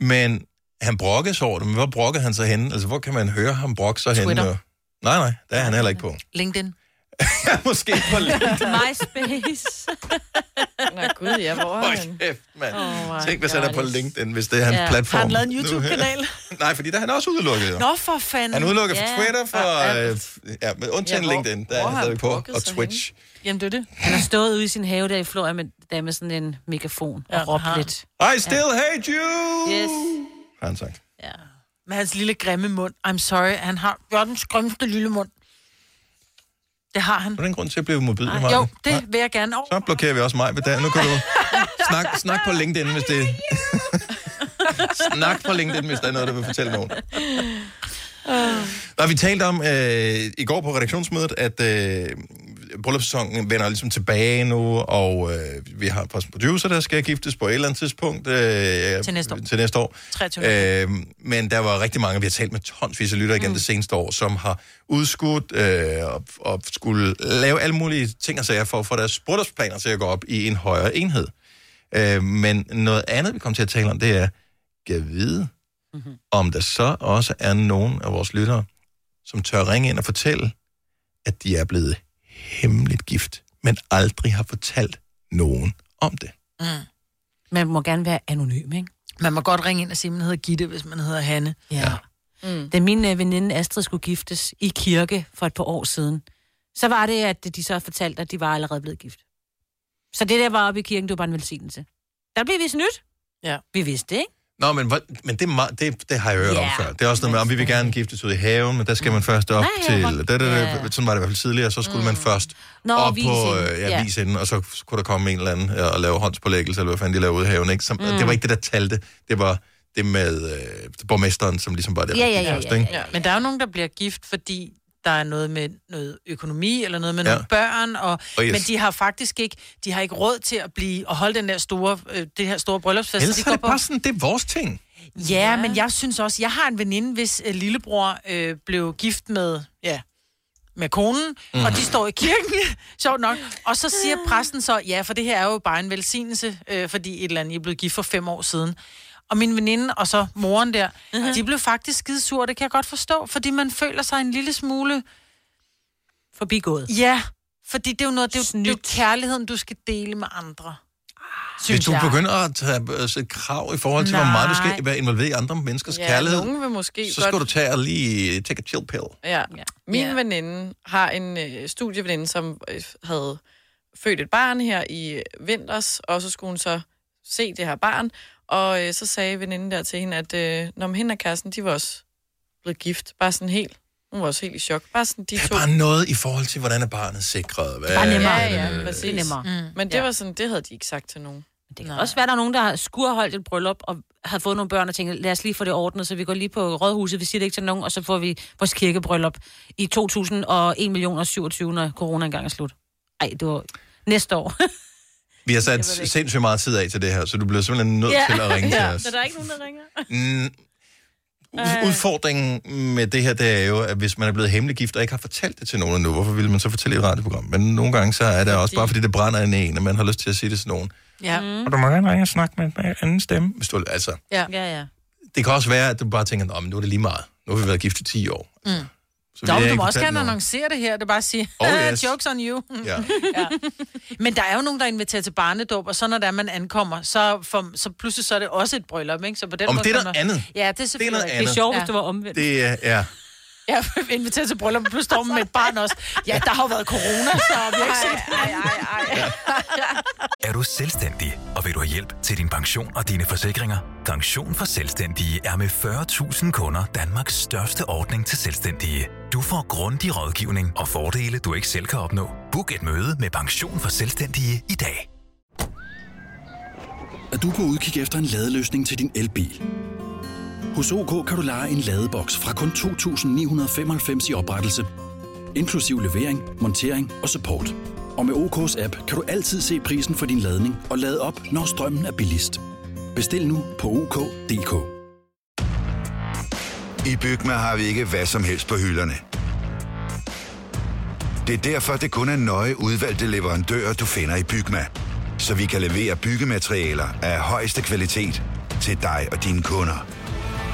[SPEAKER 1] Men han brokkede sig over det, men hvor brokkede han sig henne? Altså, hvor kan man høre ham brokke sig henne?
[SPEAKER 2] Twitter.
[SPEAKER 1] Og- Nej, nej, der er han heller ikke på.
[SPEAKER 2] LinkedIn.
[SPEAKER 1] Ja, måske på LinkedIn.
[SPEAKER 3] MySpace.
[SPEAKER 4] Nå gud, ja, hvor er
[SPEAKER 1] Hold
[SPEAKER 4] han?
[SPEAKER 1] kæft, mand.
[SPEAKER 4] Oh my
[SPEAKER 1] Tænk, hvis han er
[SPEAKER 4] God,
[SPEAKER 1] på
[SPEAKER 4] det-
[SPEAKER 1] LinkedIn, hvis det er hans
[SPEAKER 4] Ja.
[SPEAKER 1] platform.
[SPEAKER 4] Har han lavet en
[SPEAKER 1] nu her.
[SPEAKER 4] YouTube-kanal?
[SPEAKER 1] nej, fordi der er han også udelukket. Jo.
[SPEAKER 2] Nå, for fanden.
[SPEAKER 1] Han udelukker yeah.
[SPEAKER 2] Ja.
[SPEAKER 1] fra Twitter, for...
[SPEAKER 2] Ja,
[SPEAKER 1] Øh, f- ja, men undtagen
[SPEAKER 2] Ja,
[SPEAKER 1] ja,
[SPEAKER 2] hvor-
[SPEAKER 1] LinkedIn, der er
[SPEAKER 2] hvor
[SPEAKER 1] han
[SPEAKER 2] har
[SPEAKER 1] stadig
[SPEAKER 2] han
[SPEAKER 1] på.
[SPEAKER 2] brokket
[SPEAKER 1] Og
[SPEAKER 2] sig
[SPEAKER 1] Twitch.
[SPEAKER 2] Jamen, det er det.
[SPEAKER 3] Han har stået ude i sin have der i Florida med, der med sådan en megafon og råbt lidt.
[SPEAKER 1] I still hate you!
[SPEAKER 3] Yes.
[SPEAKER 1] Har han sagt.
[SPEAKER 2] Med hans lille grimme mund. I'm sorry, han har verdens grimmeste lille mund. Det har han.
[SPEAKER 1] Er der en grund til at blive modbydelig,
[SPEAKER 2] Nej,
[SPEAKER 1] Maja?
[SPEAKER 2] jo, det
[SPEAKER 1] Nej.
[SPEAKER 2] vil jeg gerne. Oh,
[SPEAKER 1] Så blokerer vi også mig ved dagen. Nu kan du snak, snak på LinkedIn, hvis det... snak på LinkedIn, hvis der er noget, du vil fortælle nogen. Og vi talte om øh, i går på redaktionsmødet, at øh, bryllupssæsonen vender ligesom tilbage nu, og øh, vi har et par producer, der skal giftes på et eller andet tidspunkt. Øh,
[SPEAKER 2] Til næste år.
[SPEAKER 1] Til næste år.
[SPEAKER 2] 23.
[SPEAKER 1] Øh, men der var rigtig mange, vi har talt med tonsvis af lytter igen mm. det seneste år, som har udskudt øh, og, og skulle lave alle mulige ting og sager for at få deres bryllupsplaner til at gå op i en højere enhed. Øh, men noget andet, vi kommer til at tale om, det er, kan vide, mm-hmm. om der så også er nogen af vores lyttere, som tør ringe ind og fortælle, at de er blevet hemmeligt gift, men aldrig har fortalt nogen om det.
[SPEAKER 2] Mm.
[SPEAKER 3] Man må gerne være anonym, ikke?
[SPEAKER 2] Man må godt ringe ind og sige, at man hedder Gitte, hvis man hedder Hanne.
[SPEAKER 3] Ja. Mm. Da min øh, veninde Astrid skulle giftes i kirke for et par år siden, så var det, at de så fortalte, at de var allerede blevet gift. Så det der var oppe i kirken, det var bare en velsignelse. Der blev vi snydt.
[SPEAKER 2] Ja.
[SPEAKER 3] Vi vidste det, ikke?
[SPEAKER 1] Nå, men, hvor- men det, er meget, det, det har jeg hørt yeah. om
[SPEAKER 3] Ja.
[SPEAKER 1] før. Det er også noget med, om vi vil gerne giftes ud i haven, men der skal man først op
[SPEAKER 3] Nej,
[SPEAKER 1] til...
[SPEAKER 3] ja,
[SPEAKER 1] Da,
[SPEAKER 3] hvor-
[SPEAKER 1] da, da,
[SPEAKER 3] Ja.
[SPEAKER 1] da, sådan var det i hvert fald tidligere, så skulle man først
[SPEAKER 3] Nå,
[SPEAKER 1] op
[SPEAKER 3] vise
[SPEAKER 1] på
[SPEAKER 3] hende.
[SPEAKER 1] øh, ja,
[SPEAKER 3] Ja.
[SPEAKER 1] vise inden, og så kunne der komme en eller anden øh, og lave håndspålæggelse, eller hvad fanden de lavede ude i haven. Ikke? Som, mm.
[SPEAKER 2] Mm.
[SPEAKER 1] Det var ikke det, der talte. Det var det med øh, borgmesteren, som ligesom var der. der gik først, ikke?
[SPEAKER 2] Men der er jo nogen, der bliver gift, fordi der er noget med noget økonomi, eller noget med
[SPEAKER 1] Ja.
[SPEAKER 2] ja. nogle børn, og,
[SPEAKER 1] Og
[SPEAKER 2] og
[SPEAKER 1] yes.
[SPEAKER 2] yes. men de har faktisk ikke, de har ikke råd til at blive, at holde den der store, øh, det her store bryllupsfest.
[SPEAKER 1] Ellers
[SPEAKER 2] de
[SPEAKER 1] er det bare sådan, det er vores ting.
[SPEAKER 2] Ja, ja, men jeg synes også, jeg har en veninde, hvis øh, lillebror øh, blev gift med, ja, med konen,
[SPEAKER 1] Mhm.
[SPEAKER 2] mm. og de står i kirken, sjovt nok, og så siger præsten så, ja, for det her er jo bare en velsignelse, øh, fordi et eller andet, I er blevet gift for fem år siden. Og min veninde og så moren der, uh-huh. de blev faktisk skide sure, det kan jeg godt forstå, fordi man føler sig en lille smule...
[SPEAKER 3] Forbigået.
[SPEAKER 2] Ja, fordi det er jo noget, det er, jo, det er jo kærligheden, du skal dele med andre.
[SPEAKER 1] Hvis
[SPEAKER 2] Synes
[SPEAKER 1] du
[SPEAKER 2] jeg.
[SPEAKER 1] begynder at tage øh, sætte krav i forhold til, hvor
[SPEAKER 2] Nej.
[SPEAKER 1] meget du skal være involveret i andre menneskers
[SPEAKER 4] Ja,
[SPEAKER 1] kærlighed,
[SPEAKER 4] nogen vil måske
[SPEAKER 1] så skal
[SPEAKER 4] godt-
[SPEAKER 1] du tage og lige take a chill pill.
[SPEAKER 4] Ja. Min ja. veninde har en øh, studieveninde, som øh, havde født et barn her i øh, vinters, og så skulle hun så se det her barn, og øh, så sagde veninden der til hende, at øh, når hende og kæresten, de var også blevet gift, bare sådan helt. Hun var også helt i chok. Bare sådan de to.
[SPEAKER 1] Bare noget i forhold til, hvordan er barnet sikret. Hvad,
[SPEAKER 4] Ja, ja, præcis.
[SPEAKER 3] Det er nemmere.
[SPEAKER 4] Mm. Men det
[SPEAKER 3] Ja.
[SPEAKER 4] var sådan, det havde de ikke sagt til nogen.
[SPEAKER 3] Det kan også være, der er nogen, der har skurholdt et bryllup og har fået nogle børn og tænker, lad os lige få det ordnet, så vi går lige på rådhuset, vi siger det ikke til nogen, og så får vi vores kirkebryllup i 2001 millioner 27, når corona engang er slut. Ej, det var næste år.
[SPEAKER 1] Vi har sat sindssygt meget tid af til det her, så du bliver simpelthen nødt til at ringe til os.
[SPEAKER 3] Så der er ikke nogen, der ringer?
[SPEAKER 1] Mm. Ud-
[SPEAKER 2] Øh.
[SPEAKER 1] Udfordringen med det her, det er jo, at hvis man er blevet hemmelig gift og ikke har fortalt det til nogen endnu, hvorfor ville man så fortælle i et radioprogram? Men nogle gange så er det også bare, fordi det brænder ind i en, og man har lyst til at sige det til nogen.
[SPEAKER 2] Ja.
[SPEAKER 3] Mm.
[SPEAKER 1] Og du må gerne ringe og snakke med en anden stemme. Hvis du, altså,
[SPEAKER 2] Ja.
[SPEAKER 3] ja, ja.
[SPEAKER 1] det kan også være, at du bare tænker, Nå, men nu er det lige meget. Nu har vi været gift i 10 år.
[SPEAKER 2] Mm.
[SPEAKER 1] Så
[SPEAKER 2] Dog,
[SPEAKER 1] vi er
[SPEAKER 2] du
[SPEAKER 1] ikke
[SPEAKER 2] må også
[SPEAKER 1] fortalt
[SPEAKER 2] gerne
[SPEAKER 1] nogen.
[SPEAKER 2] annoncere det her. Det er bare at sige,
[SPEAKER 1] Oh,
[SPEAKER 2] oh,
[SPEAKER 1] yes.
[SPEAKER 2] yes. jokes on you.
[SPEAKER 1] Ja.
[SPEAKER 2] ja. Men der er jo nogen, der inviterer til barnedåb, og så når der man ankommer, så, for, så pludselig så er det også et bryllup, ikke? Så på den
[SPEAKER 1] Om
[SPEAKER 2] måde
[SPEAKER 1] det er
[SPEAKER 2] kan
[SPEAKER 1] noget
[SPEAKER 2] man-
[SPEAKER 1] andet.
[SPEAKER 2] Ja, det er
[SPEAKER 1] Det er
[SPEAKER 2] selvfølgelig
[SPEAKER 1] noget
[SPEAKER 2] rigtigt.
[SPEAKER 1] andet.
[SPEAKER 3] omvendt.
[SPEAKER 1] Det er, ja.
[SPEAKER 2] Ja, inviterer til bryllup, plus står man med et barn også. Ja, der har jo været corona, så vi har ikke set.
[SPEAKER 11] Er du selvstændig, og vil du have hjælp til din pension og dine forsikringer? Pension for Selvstændige er med 40.000 kunder Danmarks største ordning til selvstændige. Du får grundig rådgivning og fordele, du ikke selv kan opnå. Book et møde med Pension for Selvstændige i dag.
[SPEAKER 16] Er du på udkig efter en ladeløsning til din elbil? Hos OK kan du lege en ladeboks fra kun 2.995 i oprettelse, inklusiv levering, montering og support. Og med OK's app kan du altid se prisen for din ladning og lade op, når strømmen er billigst. Bestil nu på OK.dk.
[SPEAKER 15] I Bygma har vi ikke hvad som helst på hylderne. Det er derfor, det kun er nøje udvalgte leverandører, du finder i Bygma. Så vi kan levere byggematerialer af højeste kvalitet til dig og dine kunder.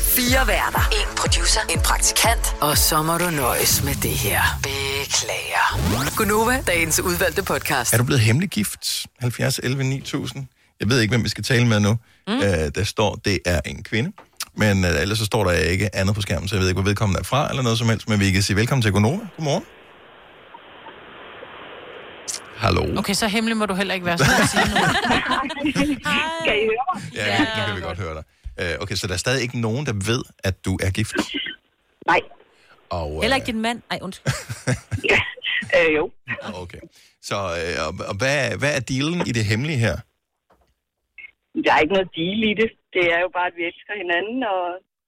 [SPEAKER 5] Fire værter. En producer. En praktikant. Og så må du nøjes med det her. Beklager. Gunova, dagens udvalgte podcast.
[SPEAKER 1] Er du blevet hemmelig gift? 70, 11, 9000? Jeg ved ikke, hvem vi skal tale med nu. Mm. Øh, der står, det er en kvinde. Men øh, ellers så står der ikke andet på skærmen, så jeg ved ikke, hvor vedkommende er fra eller noget som helst. Men vi kan sige velkommen til Gunova. Godmorgen. Hallo.
[SPEAKER 2] Okay, så hemmelig må du heller ikke være, så at sige noget.
[SPEAKER 12] Kan I høre mig?
[SPEAKER 1] Ja, ja, nu kan vi godt høre dig. Øh, okay, så der er stadig ikke nogen, der ved, at du er gift?
[SPEAKER 12] Nej.
[SPEAKER 1] Og, øh,
[SPEAKER 3] Heller ikke din mand. Ej, undskyld.
[SPEAKER 12] Øh, jo.
[SPEAKER 1] Okay. Så øh, og, og hvad, hvad er dealen i det hemmelige her?
[SPEAKER 12] Der er ikke noget deal i det. Det er jo bare, at vi elsker hinanden, og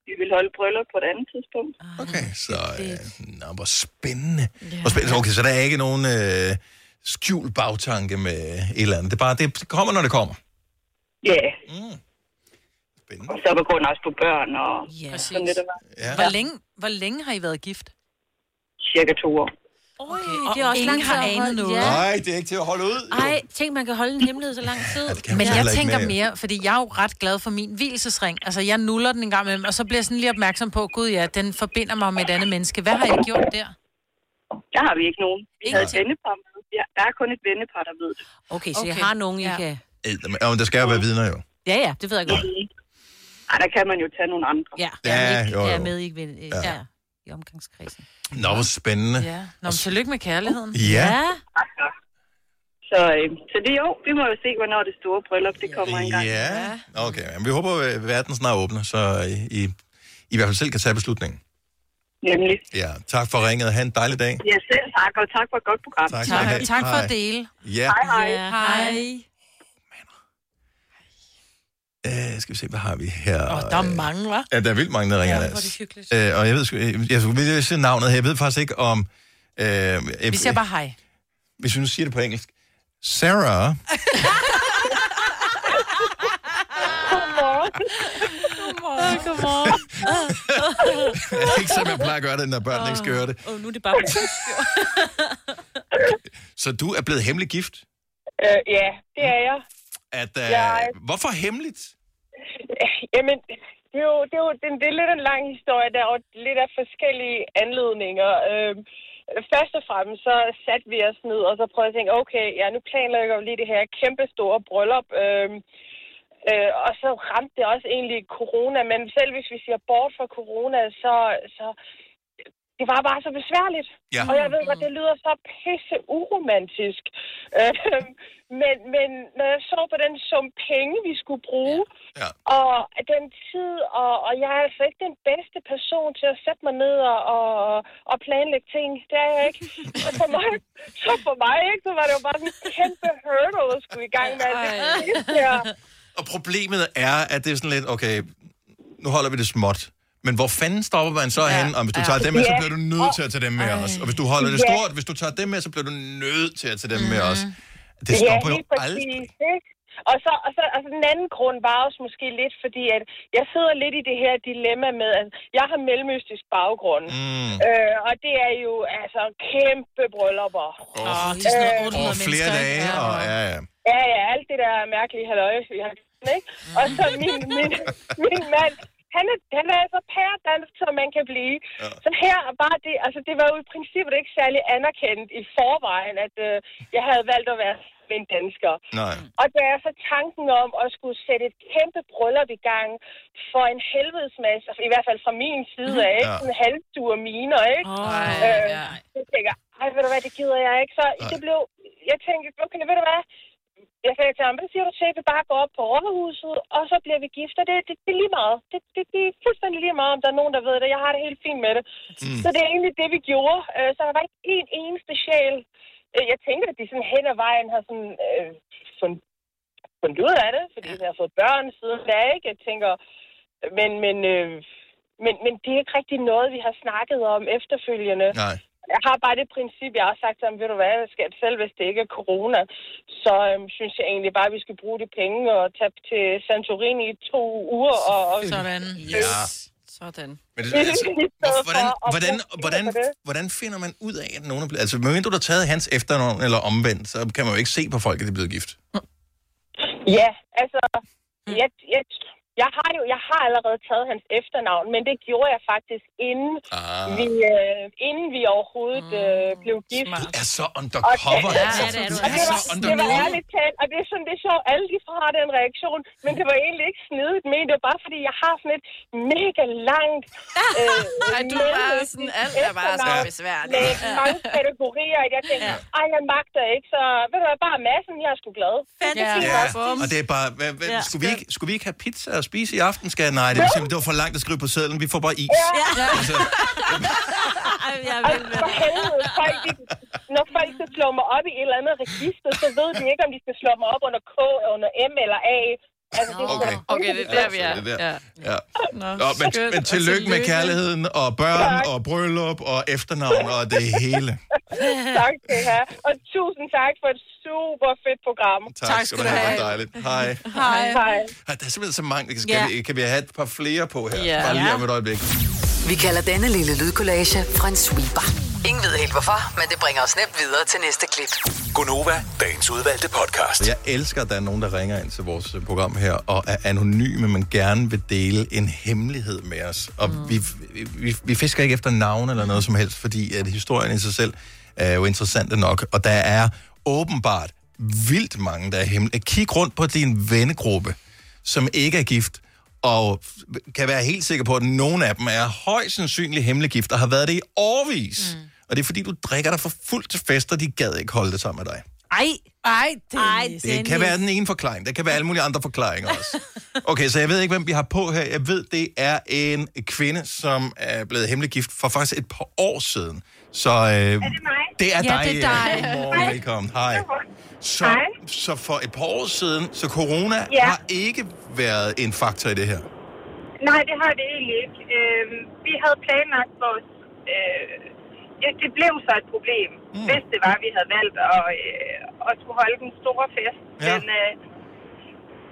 [SPEAKER 12] vi vil holde bryllup på et andet tidspunkt.
[SPEAKER 1] Okay,
[SPEAKER 2] Ah,
[SPEAKER 1] så øh, nå, hvor spændende. Hvor spændende. Okay, så der er ikke nogen øh, skjult bagtanke med et eller andet. Det, er bare, det kommer, når det kommer.
[SPEAKER 12] Ja. Og så går den også på børn og yeah. sådan lidt af hvert.
[SPEAKER 2] Ja. Hvor, længe, hvor længe har I været gift?
[SPEAKER 12] Cirka to år.
[SPEAKER 3] Okay,
[SPEAKER 2] og ingen har anet noget. Ja.
[SPEAKER 1] Nej, det er ikke til at holde ud.
[SPEAKER 3] Ej, tænk, man kan holde en hemmelighed så lang tid.
[SPEAKER 1] kan
[SPEAKER 2] Men
[SPEAKER 1] man
[SPEAKER 2] jeg
[SPEAKER 1] heller ikke
[SPEAKER 2] tænker
[SPEAKER 1] med.
[SPEAKER 2] mere, fordi jeg er jo ret glad for min hvilesesring. Altså, jeg nuller den en gang imellem, og så bliver jeg sådan lige opmærksom på, gud ja, den forbinder mig med et andet menneske. Hvad har jeg gjort der?
[SPEAKER 12] Der har vi ikke nogen. Vi har et vennepar med. Ja, der er kun et vennepar, der ved det.
[SPEAKER 3] Okay, så okay. jeg har nogen, I ja. kan...
[SPEAKER 1] Eddermame. Ja, men der skal jo være vidner jo.
[SPEAKER 3] Ja, ja, det ved jeg godt.
[SPEAKER 12] Ej, der kan man jo tage nogle andre.
[SPEAKER 3] Ja,
[SPEAKER 1] Ja, jo,
[SPEAKER 3] jeg er
[SPEAKER 1] jo.
[SPEAKER 3] med i, øh,
[SPEAKER 1] Ja.
[SPEAKER 3] ja. i omgangskredsen.
[SPEAKER 1] Nå, hvor spændende.
[SPEAKER 2] Ja. Nå, men tillykke med kærligheden.
[SPEAKER 1] Ja.
[SPEAKER 12] Så, øh, så det jo, vi må jo se, hvornår det store bryllup, det kommer engang.
[SPEAKER 1] Ja, okay. Men vi håber, at verden snart åbner, så I, I, I hvert fald selv kan tage beslutningen.
[SPEAKER 12] Nemlig.
[SPEAKER 1] Ja, tak for ringet. Ha' en dejlig dag.
[SPEAKER 12] Ja, selv tak, og tak for et godt program.
[SPEAKER 1] Tak skal I
[SPEAKER 2] Tak,
[SPEAKER 1] have.
[SPEAKER 2] tak for
[SPEAKER 1] Hej.
[SPEAKER 2] at dele.
[SPEAKER 1] Ja,
[SPEAKER 12] Hej, hej.
[SPEAKER 2] Ja, hej.
[SPEAKER 1] øh, skal vi se, hvad har vi her?
[SPEAKER 2] Og der er mange, hva'?
[SPEAKER 1] Ja, der er vildt mange, der ringer,
[SPEAKER 2] Ja,
[SPEAKER 1] ja,
[SPEAKER 2] hvor er det hyggeligt.
[SPEAKER 1] øh, Og jeg ved, sgu- jeg, jeg skulle lige se navnet her. Jeg ved faktisk ikke om... Øh,
[SPEAKER 2] Vi siger bare hej.
[SPEAKER 1] Hvis vi nu siger det på engelsk. Sarah,
[SPEAKER 12] Godmorgen.
[SPEAKER 3] Godmorgen. Godmorgen.
[SPEAKER 1] ikke som jeg plejer at gøre det, når børnene ikke skal høre det.
[SPEAKER 3] Åh, oh, nu er det bare...
[SPEAKER 1] Så du er blevet hemmelig gift.
[SPEAKER 13] Øh, ja, det er jeg.
[SPEAKER 1] At, øh,
[SPEAKER 13] Jeg-
[SPEAKER 1] Hvorfor hemmeligt?
[SPEAKER 13] Øh, Jamen, det er jo, det er jo det, det er lidt en lang historie der, og lidt af forskellige anledninger. Øh, først og fremmest, så satte vi os ned, og så prøvede jeg at tænke, okay, ja, nu planlægger vi lige det her kæmpe store bryllup. Øh, øh, og så ramte det også egentlig corona, men selv hvis vi siger bort fra corona, så, så det var bare så besværligt.
[SPEAKER 7] Ja.
[SPEAKER 13] Og jeg ved godt, det lyder så pisse uromantisk. Øh, men, men når jeg så på den sum penge, vi skulle bruge,
[SPEAKER 1] ja.
[SPEAKER 13] og den tid, og, og jeg er altså ikke den bedste person til at sætte mig ned og, og, og planlægge ting. Det er jeg ikke. Så for mig, så for mig ikke, så var det jo bare sådan en kæmpe hurdle at skulle i gang med. alt Det her.
[SPEAKER 1] Og problemet er, at det er sådan lidt, okay, nu holder vi det småt. Men hvor fanden stopper man så ja, hen? Og hvis du
[SPEAKER 13] ja.
[SPEAKER 1] tager dem med, så
[SPEAKER 13] Ja.
[SPEAKER 1] bliver du nødt til at tage dem med os. Og hvis du holder det
[SPEAKER 13] Ja. Mhm.
[SPEAKER 1] stort, hvis du tager dem med, så bliver du nødt til at tage dem med os. Det
[SPEAKER 13] Ja,
[SPEAKER 1] stopper jo
[SPEAKER 13] lige præcis,
[SPEAKER 1] aldrig.
[SPEAKER 13] ikke? Og så, og så altså, den anden grund var også måske lidt, fordi at jeg sidder lidt i det her dilemma med, at jeg har mellemøstisk baggrund.
[SPEAKER 1] Mm.
[SPEAKER 13] Øh, og det er jo altså kæmpe bryllupper.
[SPEAKER 1] Åh,
[SPEAKER 13] det er sådan noget
[SPEAKER 1] Over flere dage, og ja, ja.
[SPEAKER 13] Ja, ja, alt det der mærkelige halløj, vi har gjort, ikke? Og så min, min, min mand, han er, han er altså pæredansk, som man kan blive. Ja. Så her er bare det, altså det var jo i princippet ikke særlig anerkendt i forvejen, at øh, jeg havde valgt at være med en dansker.
[SPEAKER 1] Nej.
[SPEAKER 13] Og der er så tanken om at skulle sætte et kæmpe bryllup i gang for en helvedes masse, altså i hvert fald fra min side af, ikke?
[SPEAKER 7] Ja.
[SPEAKER 13] Sådan halvdure miner, ikke?
[SPEAKER 7] Ej,
[SPEAKER 13] øh, så tænker jeg, ej, ved du hvad, det gider jeg ikke. Så det blev, jeg tænkte, okay, ved du hvad, jeg sagde til ham, hvad siger du til, at vi bare går op på rådhuset, og så bliver vi gift, og det, det, det er lige meget. Det, det, det er fuldstændig lige meget, om der er nogen, der ved det. Jeg har det helt fint med det.
[SPEAKER 7] Mm.
[SPEAKER 13] Mm. Så det er egentlig det, vi gjorde. Øh, Så der var ikke en eneste sjæl. Øh, Jeg tænker, at de sådan hen ad vejen har sådan, øh, fundet, fundet ud af det, fordi vi har fået børn siden da, ikke? Jeg tænker, men, men, øh, men, men det er ikke rigtig noget, vi har snakket om efterfølgende.
[SPEAKER 1] Nej.
[SPEAKER 13] Jeg har bare det princip, jeg har sagt til ham, ved du hvad, skat, selv hvis det ikke er corona, så øhm, synes jeg egentlig bare, at vi skal bruge de penge og tage til Santorini i to uger. Og, og
[SPEAKER 2] Sådan.
[SPEAKER 1] Ja.
[SPEAKER 4] Sådan.
[SPEAKER 1] Men det, altså, hvor- hvordan, hvordan, hvordan, hvordan finder man ud af, at nogen er blevet... Altså, medmindre du har taget hans efternavn eller omvendt, så kan man jo ikke se på folk, at de er blevet gift.
[SPEAKER 13] Ja, altså, jeg, jeg, jeg, har jo, jeg har allerede taget hans efternavn, men det gjorde jeg faktisk, inden,
[SPEAKER 1] ah.
[SPEAKER 13] vi, øh, inden vi overhovedet øh, blev gift.
[SPEAKER 1] Du er så undercover.
[SPEAKER 13] Ja,
[SPEAKER 1] altså.
[SPEAKER 13] det er du.
[SPEAKER 1] Du er så
[SPEAKER 13] Det var
[SPEAKER 1] undercover.
[SPEAKER 13] ærligt talt, og det er sådan, det er sjovt, alle de har den reaktion, men det var egentlig ikke snedigt men det var bare fordi, jeg har sådan et mega langt... Øh,
[SPEAKER 4] Ej, du er bare sådan, alt er bare så
[SPEAKER 13] efternavn
[SPEAKER 4] besværligt.
[SPEAKER 13] Med
[SPEAKER 4] Ja.
[SPEAKER 13] mange kategorier, at jeg tænkte, ej, jeg magter ikke, så ved du hvad, bare massen, jeg er sgu glad. Fedt,
[SPEAKER 4] Ja.
[SPEAKER 1] Og det er bare, hvad, hvad,
[SPEAKER 13] Ja.
[SPEAKER 1] ja. skulle, vi ikke, skulle vi ikke have pizza og spise i aften? Skal jeg? Nej, det, er simpelthen- det var for langt at skrive på sædlen. Vi får bare is.
[SPEAKER 13] Ja.
[SPEAKER 1] Altså,
[SPEAKER 3] Ej, jeg
[SPEAKER 13] Og for helvede, folk, de, når folk skal slå mig op i et eller andet register, så ved de ikke, om de skal slå mig op under K, under M eller A. Altså, det er
[SPEAKER 1] Okay.
[SPEAKER 13] sådan-
[SPEAKER 4] Okay, det er der, vi er.
[SPEAKER 1] det er der.
[SPEAKER 4] Ja.
[SPEAKER 1] ja.
[SPEAKER 4] Nå,
[SPEAKER 1] Nå, men,
[SPEAKER 4] skønt.
[SPEAKER 1] men
[SPEAKER 4] Og
[SPEAKER 1] tillykke med kærligheden og børn og bryllup og efternavn og det hele.
[SPEAKER 13] tak skal I have. Og tusind tak for et super fedt program.
[SPEAKER 1] Tak, tak skal du have. Det var dejligt. Hej.
[SPEAKER 13] Hej. Hej.
[SPEAKER 1] Ej, Der er simpelthen så mange. Kan,
[SPEAKER 5] Ja.
[SPEAKER 1] ja. vi, kan vi have et par flere på her?
[SPEAKER 5] Ja.
[SPEAKER 1] Ja. Bare lige
[SPEAKER 5] Ja.
[SPEAKER 1] om et øjeblik.
[SPEAKER 5] Vi kalder denne lille lydkollage en sweeper. Ingen ved helt hvorfor, men det bringer os nemt videre til næste klip.
[SPEAKER 11] Gonova, dagens udvalgte podcast.
[SPEAKER 1] Altså, Jeg elsker, at der er nogen, der ringer ind til vores øh, program her og er anonyme, men gerne vil dele en hemmelighed med os. Og mm. vi, vi, vi fisker ikke efter navn eller noget som helst, fordi at historien i sig selv er jo interessant nok. Og der er åbenbart vildt mange, der er hemmelige. Kig rundt på din vennegruppe, som ikke er gift, og f- kan være helt sikker på, at nogen af dem er højst sandsynligt hemmelig gift, og har været det i årvis. Mm. Og det er fordi, du drikker dig for fuldt til fester, de gad ikke holde det sammen med dig.
[SPEAKER 3] Ej.
[SPEAKER 2] Ej, det,
[SPEAKER 3] Ej,
[SPEAKER 1] Det kan være den ene forklaring. Der kan være alle mulige andre forklaringer også. Okay, så jeg ved ikke, hvem vi har på her. Jeg ved, det er en kvinde, som er blevet hemmelig gift for faktisk et par år siden. Så øh, er det, det er
[SPEAKER 7] Ja,
[SPEAKER 1] dig.
[SPEAKER 7] det er dig.
[SPEAKER 1] Anne. Godmorgen,
[SPEAKER 7] Hej.
[SPEAKER 1] velkommen. Hej. Så,
[SPEAKER 7] Hej.
[SPEAKER 1] så for et par år siden, så corona
[SPEAKER 7] Ja.
[SPEAKER 1] ja. har ikke været en faktor i det her.
[SPEAKER 7] Nej, det har det egentlig ikke. Øhm, vi havde planlagt vores... Øh, ja, det blev så et problem, mm. hvis det var, vi havde valgt at, øh, at skulle holde den store fest. Ja. Men øh,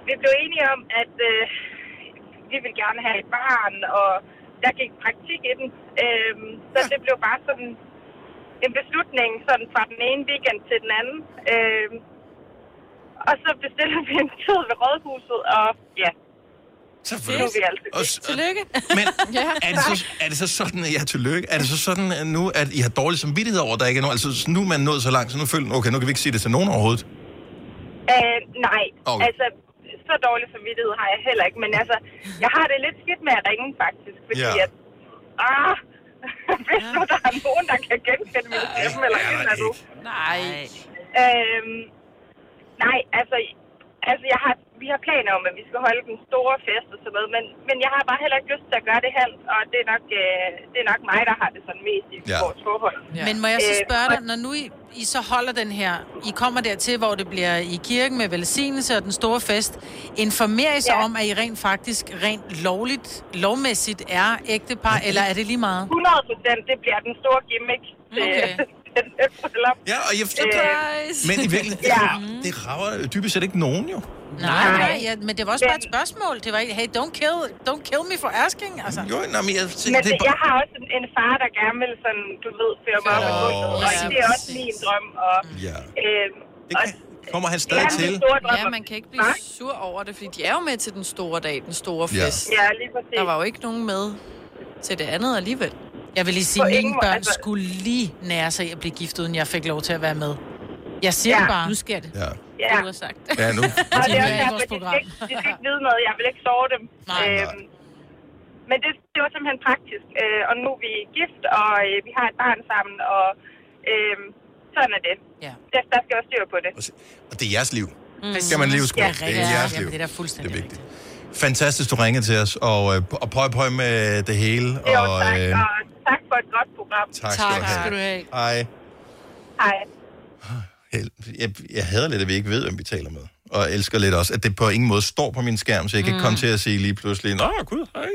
[SPEAKER 7] vi blev enige om, at øh, vi ville gerne have et barn, og der gik praktik i den. Øh, så det blev bare sådan en beslutning sådan fra den ene weekend til den anden. Øh, og så bestiller vi en tid ved rådhuset, og ja,
[SPEAKER 1] Selvfølgelig.
[SPEAKER 7] Nu er vi altså
[SPEAKER 1] Og s-
[SPEAKER 7] Tillykke.
[SPEAKER 1] Men Er det, så, er det så sådan, at jeg er tillykke? Er det så sådan at nu, at I har dårlig samvittighed over, at der ikke er nogen? Altså, nu er man nået så langt, så nu føler okay, nu kan vi ikke sige det til nogen overhovedet.
[SPEAKER 7] Øh, nej, okay.
[SPEAKER 1] Okay.
[SPEAKER 7] altså så dårlig samvittighed har jeg heller ikke, men altså, jeg har det lidt skidt med at ringe faktisk, fordi
[SPEAKER 1] Ja.
[SPEAKER 7] at, ah, hvis nu der er nogen, der kan genkende min stemme eller et eller andet.
[SPEAKER 4] Nej.
[SPEAKER 7] Øhm, nej, altså, altså jeg har, vi har planer om, at vi skal holde den store fest og sådan noget, men, men jeg har bare heller ikke lyst til at gøre det halvt, og det er nok, øh, det er nok mig, der har det sådan mest i
[SPEAKER 2] Ja.
[SPEAKER 7] vores forhold.
[SPEAKER 2] Men må jeg så
[SPEAKER 7] Øh,
[SPEAKER 2] spørge
[SPEAKER 7] og-
[SPEAKER 2] dig, når nu I, I så holder den her, I kommer dertil, hvor det bliver i kirken med velsignelse og den store fest, informerer I sig ja. om, at I rent faktisk, rent lovligt, lovmæssigt er ægtepar, eller er det lige meget?
[SPEAKER 7] 100 procent, det bliver den store gimmick øh, til, okay. til det bryllup.
[SPEAKER 1] Ja, og jeg forstår det. Men i virkeligheden,
[SPEAKER 7] Øh, ja.
[SPEAKER 1] det, det rager dybest set ikke nogen jo.
[SPEAKER 2] Nej, nej, ja, men det var også bare et spørgsmål. Det var ikke, hey, don't kill, don't kill me for asking, altså.
[SPEAKER 1] Jo, nej, men jeg, det,
[SPEAKER 7] Men
[SPEAKER 1] det,
[SPEAKER 7] jeg har også en, en far, der gerne vil sådan, du ved, føre mig op i gulvet, og
[SPEAKER 1] ja,
[SPEAKER 7] det er også min drøm. Og,
[SPEAKER 1] ja.
[SPEAKER 7] øhm, og,
[SPEAKER 1] kommer han
[SPEAKER 7] det
[SPEAKER 1] stadig
[SPEAKER 7] er min
[SPEAKER 1] til.
[SPEAKER 7] store drøm.
[SPEAKER 4] Ja, man kan ikke blive
[SPEAKER 7] Nej.
[SPEAKER 4] sur over det, fordi de er jo med til den store dag, den store
[SPEAKER 1] Ja.
[SPEAKER 4] fest.
[SPEAKER 7] Ja, lige præcis.
[SPEAKER 4] Der var jo ikke nogen med til det andet alligevel.
[SPEAKER 2] Jeg vil lige sige, at mine børn
[SPEAKER 7] altså-
[SPEAKER 2] skulle lige nære sig i at blive gift, uden jeg fik lov til at være med. Jeg siger
[SPEAKER 7] Ja.
[SPEAKER 2] det bare.
[SPEAKER 7] Nu
[SPEAKER 2] sker det.
[SPEAKER 1] Ja.
[SPEAKER 7] Ja.
[SPEAKER 2] Du har sagt.
[SPEAKER 1] Ja, nu.
[SPEAKER 7] Og det er
[SPEAKER 2] Det
[SPEAKER 7] også
[SPEAKER 2] er i
[SPEAKER 7] derfor,
[SPEAKER 2] vores
[SPEAKER 7] de skal,
[SPEAKER 2] program.
[SPEAKER 7] ikke, de skal ikke vide noget. Jeg vil ikke sove dem.
[SPEAKER 2] Nej,
[SPEAKER 7] øhm, men det, det var simpelthen praktisk. Øh, og nu er vi gift, og øh, vi har et barn sammen, og øh, sådan er det.
[SPEAKER 2] Ja.
[SPEAKER 7] Der, der skal også styr på det.
[SPEAKER 1] Og det er jeres liv. Mm. Skal man lige huske på.
[SPEAKER 2] Ja,
[SPEAKER 1] Det er
[SPEAKER 2] rigtigt.
[SPEAKER 1] jeres
[SPEAKER 2] Jamen,
[SPEAKER 1] liv.
[SPEAKER 2] det er da fuldstændig
[SPEAKER 1] det er vigtigt. Fantastisk, du ringede til os, og, øh, og pøj pøj med det hele.
[SPEAKER 7] Jo,
[SPEAKER 1] Og,
[SPEAKER 7] tak,
[SPEAKER 1] øh,
[SPEAKER 7] og tak for et godt program.
[SPEAKER 1] tak skal du have. Hej.
[SPEAKER 7] Hej.
[SPEAKER 1] Jeg, jeg hader lidt, at vi ikke ved, hvem vi taler med. Og elsker lidt også, at det på ingen måde står på min skærm, så jeg kan
[SPEAKER 2] Mm.
[SPEAKER 1] mm. komme til at sige lige pludselig, Nå, gud, hej.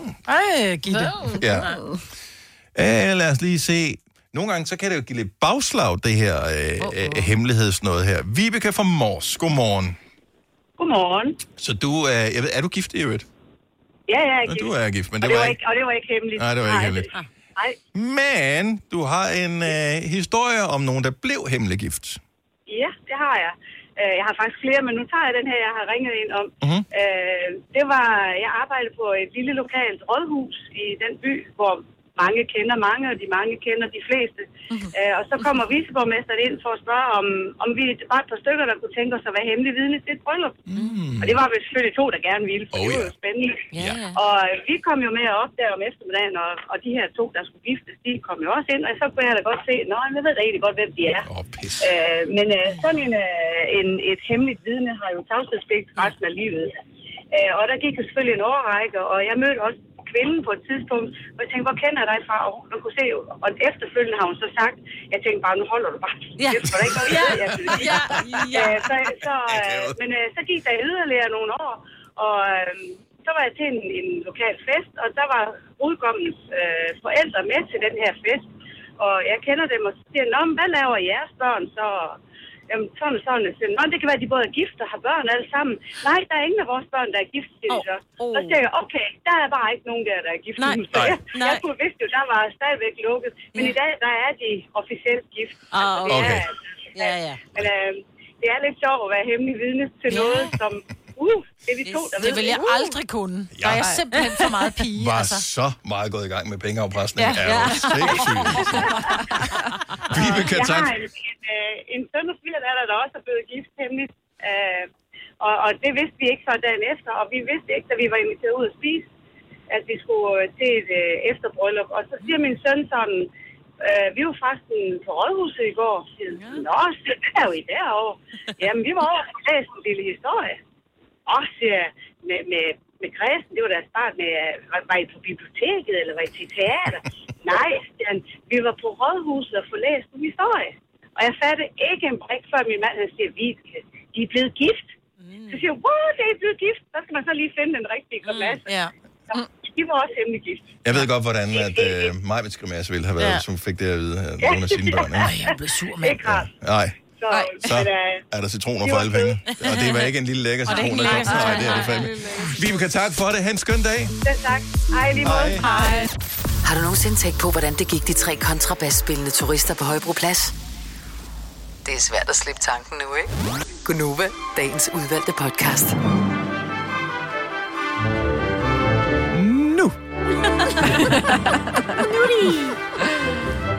[SPEAKER 1] Mm.
[SPEAKER 2] Ej, Gitte.
[SPEAKER 1] Ja. Øh, lad os lige se. Nogle gange, så kan det jo give lidt bagslag, det her øh, øh, hemmelighedsnåde her. Vibeke fra Mors, godmorgen.
[SPEAKER 21] Godmorgen.
[SPEAKER 1] Så du, øh, jeg ved, er du gift i øvrigt?
[SPEAKER 21] Ja, jeg er
[SPEAKER 1] Nå,
[SPEAKER 21] gift.
[SPEAKER 1] du er gift, men
[SPEAKER 21] Og
[SPEAKER 1] det var ikke-
[SPEAKER 21] Og det var ikke hemmeligt.
[SPEAKER 1] Nej, det var ikke hemmeligt.
[SPEAKER 21] Nej,
[SPEAKER 1] Men du har en øh, historie om nogen, der blev hemmeliggift.
[SPEAKER 21] ja, det har jeg. Øh, Jeg har faktisk flere, men nu tager jeg den her, jeg har ringet ind om.
[SPEAKER 1] Mhm.
[SPEAKER 21] Øh, Det var, jeg arbejdede på et lille lokalt rådhus i den by, hvor mange kender mange, og de mange kender de fleste.
[SPEAKER 22] Mhm.
[SPEAKER 21] Øh, Og så kommer viceborgmesteren ind for at spørge, om, om vi var et par stykker, der kunne tænke os at være hemmelige vidne til et bryllup. Og det var vi selvfølgelig to, der gerne ville, for oh, det var jo spændende.
[SPEAKER 22] Mhm. Ja.
[SPEAKER 21] Og øh, vi kom jo med op der om eftermiddagen, og, og de her to, der skulle giftes, de kom jo også ind, og så kunne jeg da godt se, nej, jeg ved da egentlig godt, hvem de er.
[SPEAKER 1] Oh, pis.
[SPEAKER 21] Øh, men øh, sådan en, øh, en, et hemmeligt vidne har jo tavshedspligt resten af livet. Øh, og der gik jo selvfølgelig en overrække, og jeg mødte også kvinden på et tidspunkt, og jeg tænkte, hvor kender jeg dig fra? Og hun kunne se, og efterfølgende har hun så sagt, jeg tænkte bare, nu holder du bare. Ja. Det var da ikke noget,
[SPEAKER 22] Ja.
[SPEAKER 21] jeg synes.
[SPEAKER 22] Ja. Ja.
[SPEAKER 21] Øh, så, så, øh, men øh, så gik der yderligere nogle år, og øh, så var jeg til en, en lokal fest, og der var udkommens øh, forældre med til den her fest. Og jeg kender dem og så siger, Nå, men hvad laver jeres børn så? Jamen, sådan og sådan. Jeg siger, Nå, det kan være, at de både er gift og har børn alle sammen. Nej, der er ingen af vores børn, der er gift, siger de så. Oh. Så siger jeg, okay, der er bare ikke nogen der, der er gift.
[SPEAKER 22] Nej.
[SPEAKER 21] nu." Så
[SPEAKER 22] Nej.
[SPEAKER 21] jeg, jeg kunne vidste jo, der var stadigvæk lukket. Men i dag, der er de officielt gift. Altså,
[SPEAKER 3] Ah,
[SPEAKER 21] det
[SPEAKER 22] okay.
[SPEAKER 21] er, ja, ja. Men øh, det er lidt sjovt at være hemmelig vidne til noget, som... Uh, det er vi to, der ved.
[SPEAKER 2] Det vil jeg
[SPEAKER 21] Uh.
[SPEAKER 2] aldrig kunne. Der er jeg simpelthen for meget pige,
[SPEAKER 1] Var
[SPEAKER 2] altså.
[SPEAKER 1] så meget gået i gang med pengeafpresning.
[SPEAKER 21] Ja.
[SPEAKER 1] Ja. Er
[SPEAKER 21] Ja.
[SPEAKER 1] jo sindssygt. Vibeke,
[SPEAKER 21] jeg
[SPEAKER 1] tak.
[SPEAKER 21] har en, en, øh, en søn og svigerdatter, der også er blevet gift hemmeligt. Øh, og, og det vidste vi ikke før dagen efter, og vi vidste ikke, da vi var inviteret ud at spise, at vi skulle øh, til et øh, efterbryllup. Og så siger min søn sådan, øh, vi var faktisk på Rådhuset i går. Siger, han, Nå, så er jo i derovre. Jamen, vi var over og læste en lille historie. Også øh, med, med, med Christen, det var deres start med, øh, var, var I på biblioteket, eller var I til teater? Nej, siger han, vi var på rådhuset og få læst en historie. Og jeg fattede ikke en brik, før min mand han siger, vi de er blevet gift. Mm. Så siger jeg, wow, det er blevet gift. Der skal man så lige finde den rigtige grimasse. Mm,
[SPEAKER 2] yeah.
[SPEAKER 21] De var også hemmelig gift.
[SPEAKER 1] Jeg ved godt, hvordan at, øh, Majvits Grimasse ville have været,
[SPEAKER 21] Ja.
[SPEAKER 1] ja. som fik det at vide af nogle af sine børn. Ikke?
[SPEAKER 21] Ej, jeg blev sur, mand. Ikke rart.
[SPEAKER 1] Nej.
[SPEAKER 21] Så,
[SPEAKER 1] Så
[SPEAKER 21] men, øh,
[SPEAKER 1] er der citroner
[SPEAKER 21] det
[SPEAKER 1] for
[SPEAKER 21] var
[SPEAKER 1] alle
[SPEAKER 21] sødt.
[SPEAKER 1] penge. Og det var ikke en lille lækker
[SPEAKER 21] Og det er ikke
[SPEAKER 1] citron, der
[SPEAKER 21] en
[SPEAKER 1] kom.
[SPEAKER 21] lækker citron.
[SPEAKER 1] Nej, det er det fandme. Vibeke, tak for det. Ha' en skøn dag.
[SPEAKER 21] Selv tak. Hej, lige måde. Hej.
[SPEAKER 5] Har du nogensinde tænkt på, hvordan det gik de tre kontrabasspillende turister på Højbroplads? Det er svært at slippe tanken nu, ikke? Gunova, dagens udvalgte podcast.
[SPEAKER 1] Nu.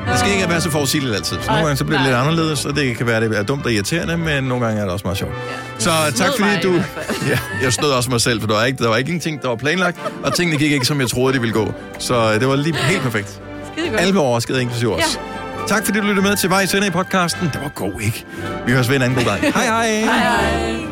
[SPEAKER 1] Det skal ikke være så forudsigeligt altid. Så nogle gange så bliver det lidt anderledes, og det kan være, det er dumt og irriterende, men nogle gange er det også meget sjovt. Så tak fordi
[SPEAKER 23] mig i
[SPEAKER 1] du...
[SPEAKER 23] hvert
[SPEAKER 1] Ja, jeg snød også mig selv, for der var, ikke, der var ikke ingenting, der var planlagt, og tingene gik ikke, som jeg troede, de ville gå. Så øh, det var lige helt perfekt.
[SPEAKER 24] Skidegodt.
[SPEAKER 1] Alle var overrasket, inklusive os. Tak fordi du lyttede med til vej i podcasten. Det var god, ikke? Vi høres ved en anden god dag. Hej hej!
[SPEAKER 24] Hej hej.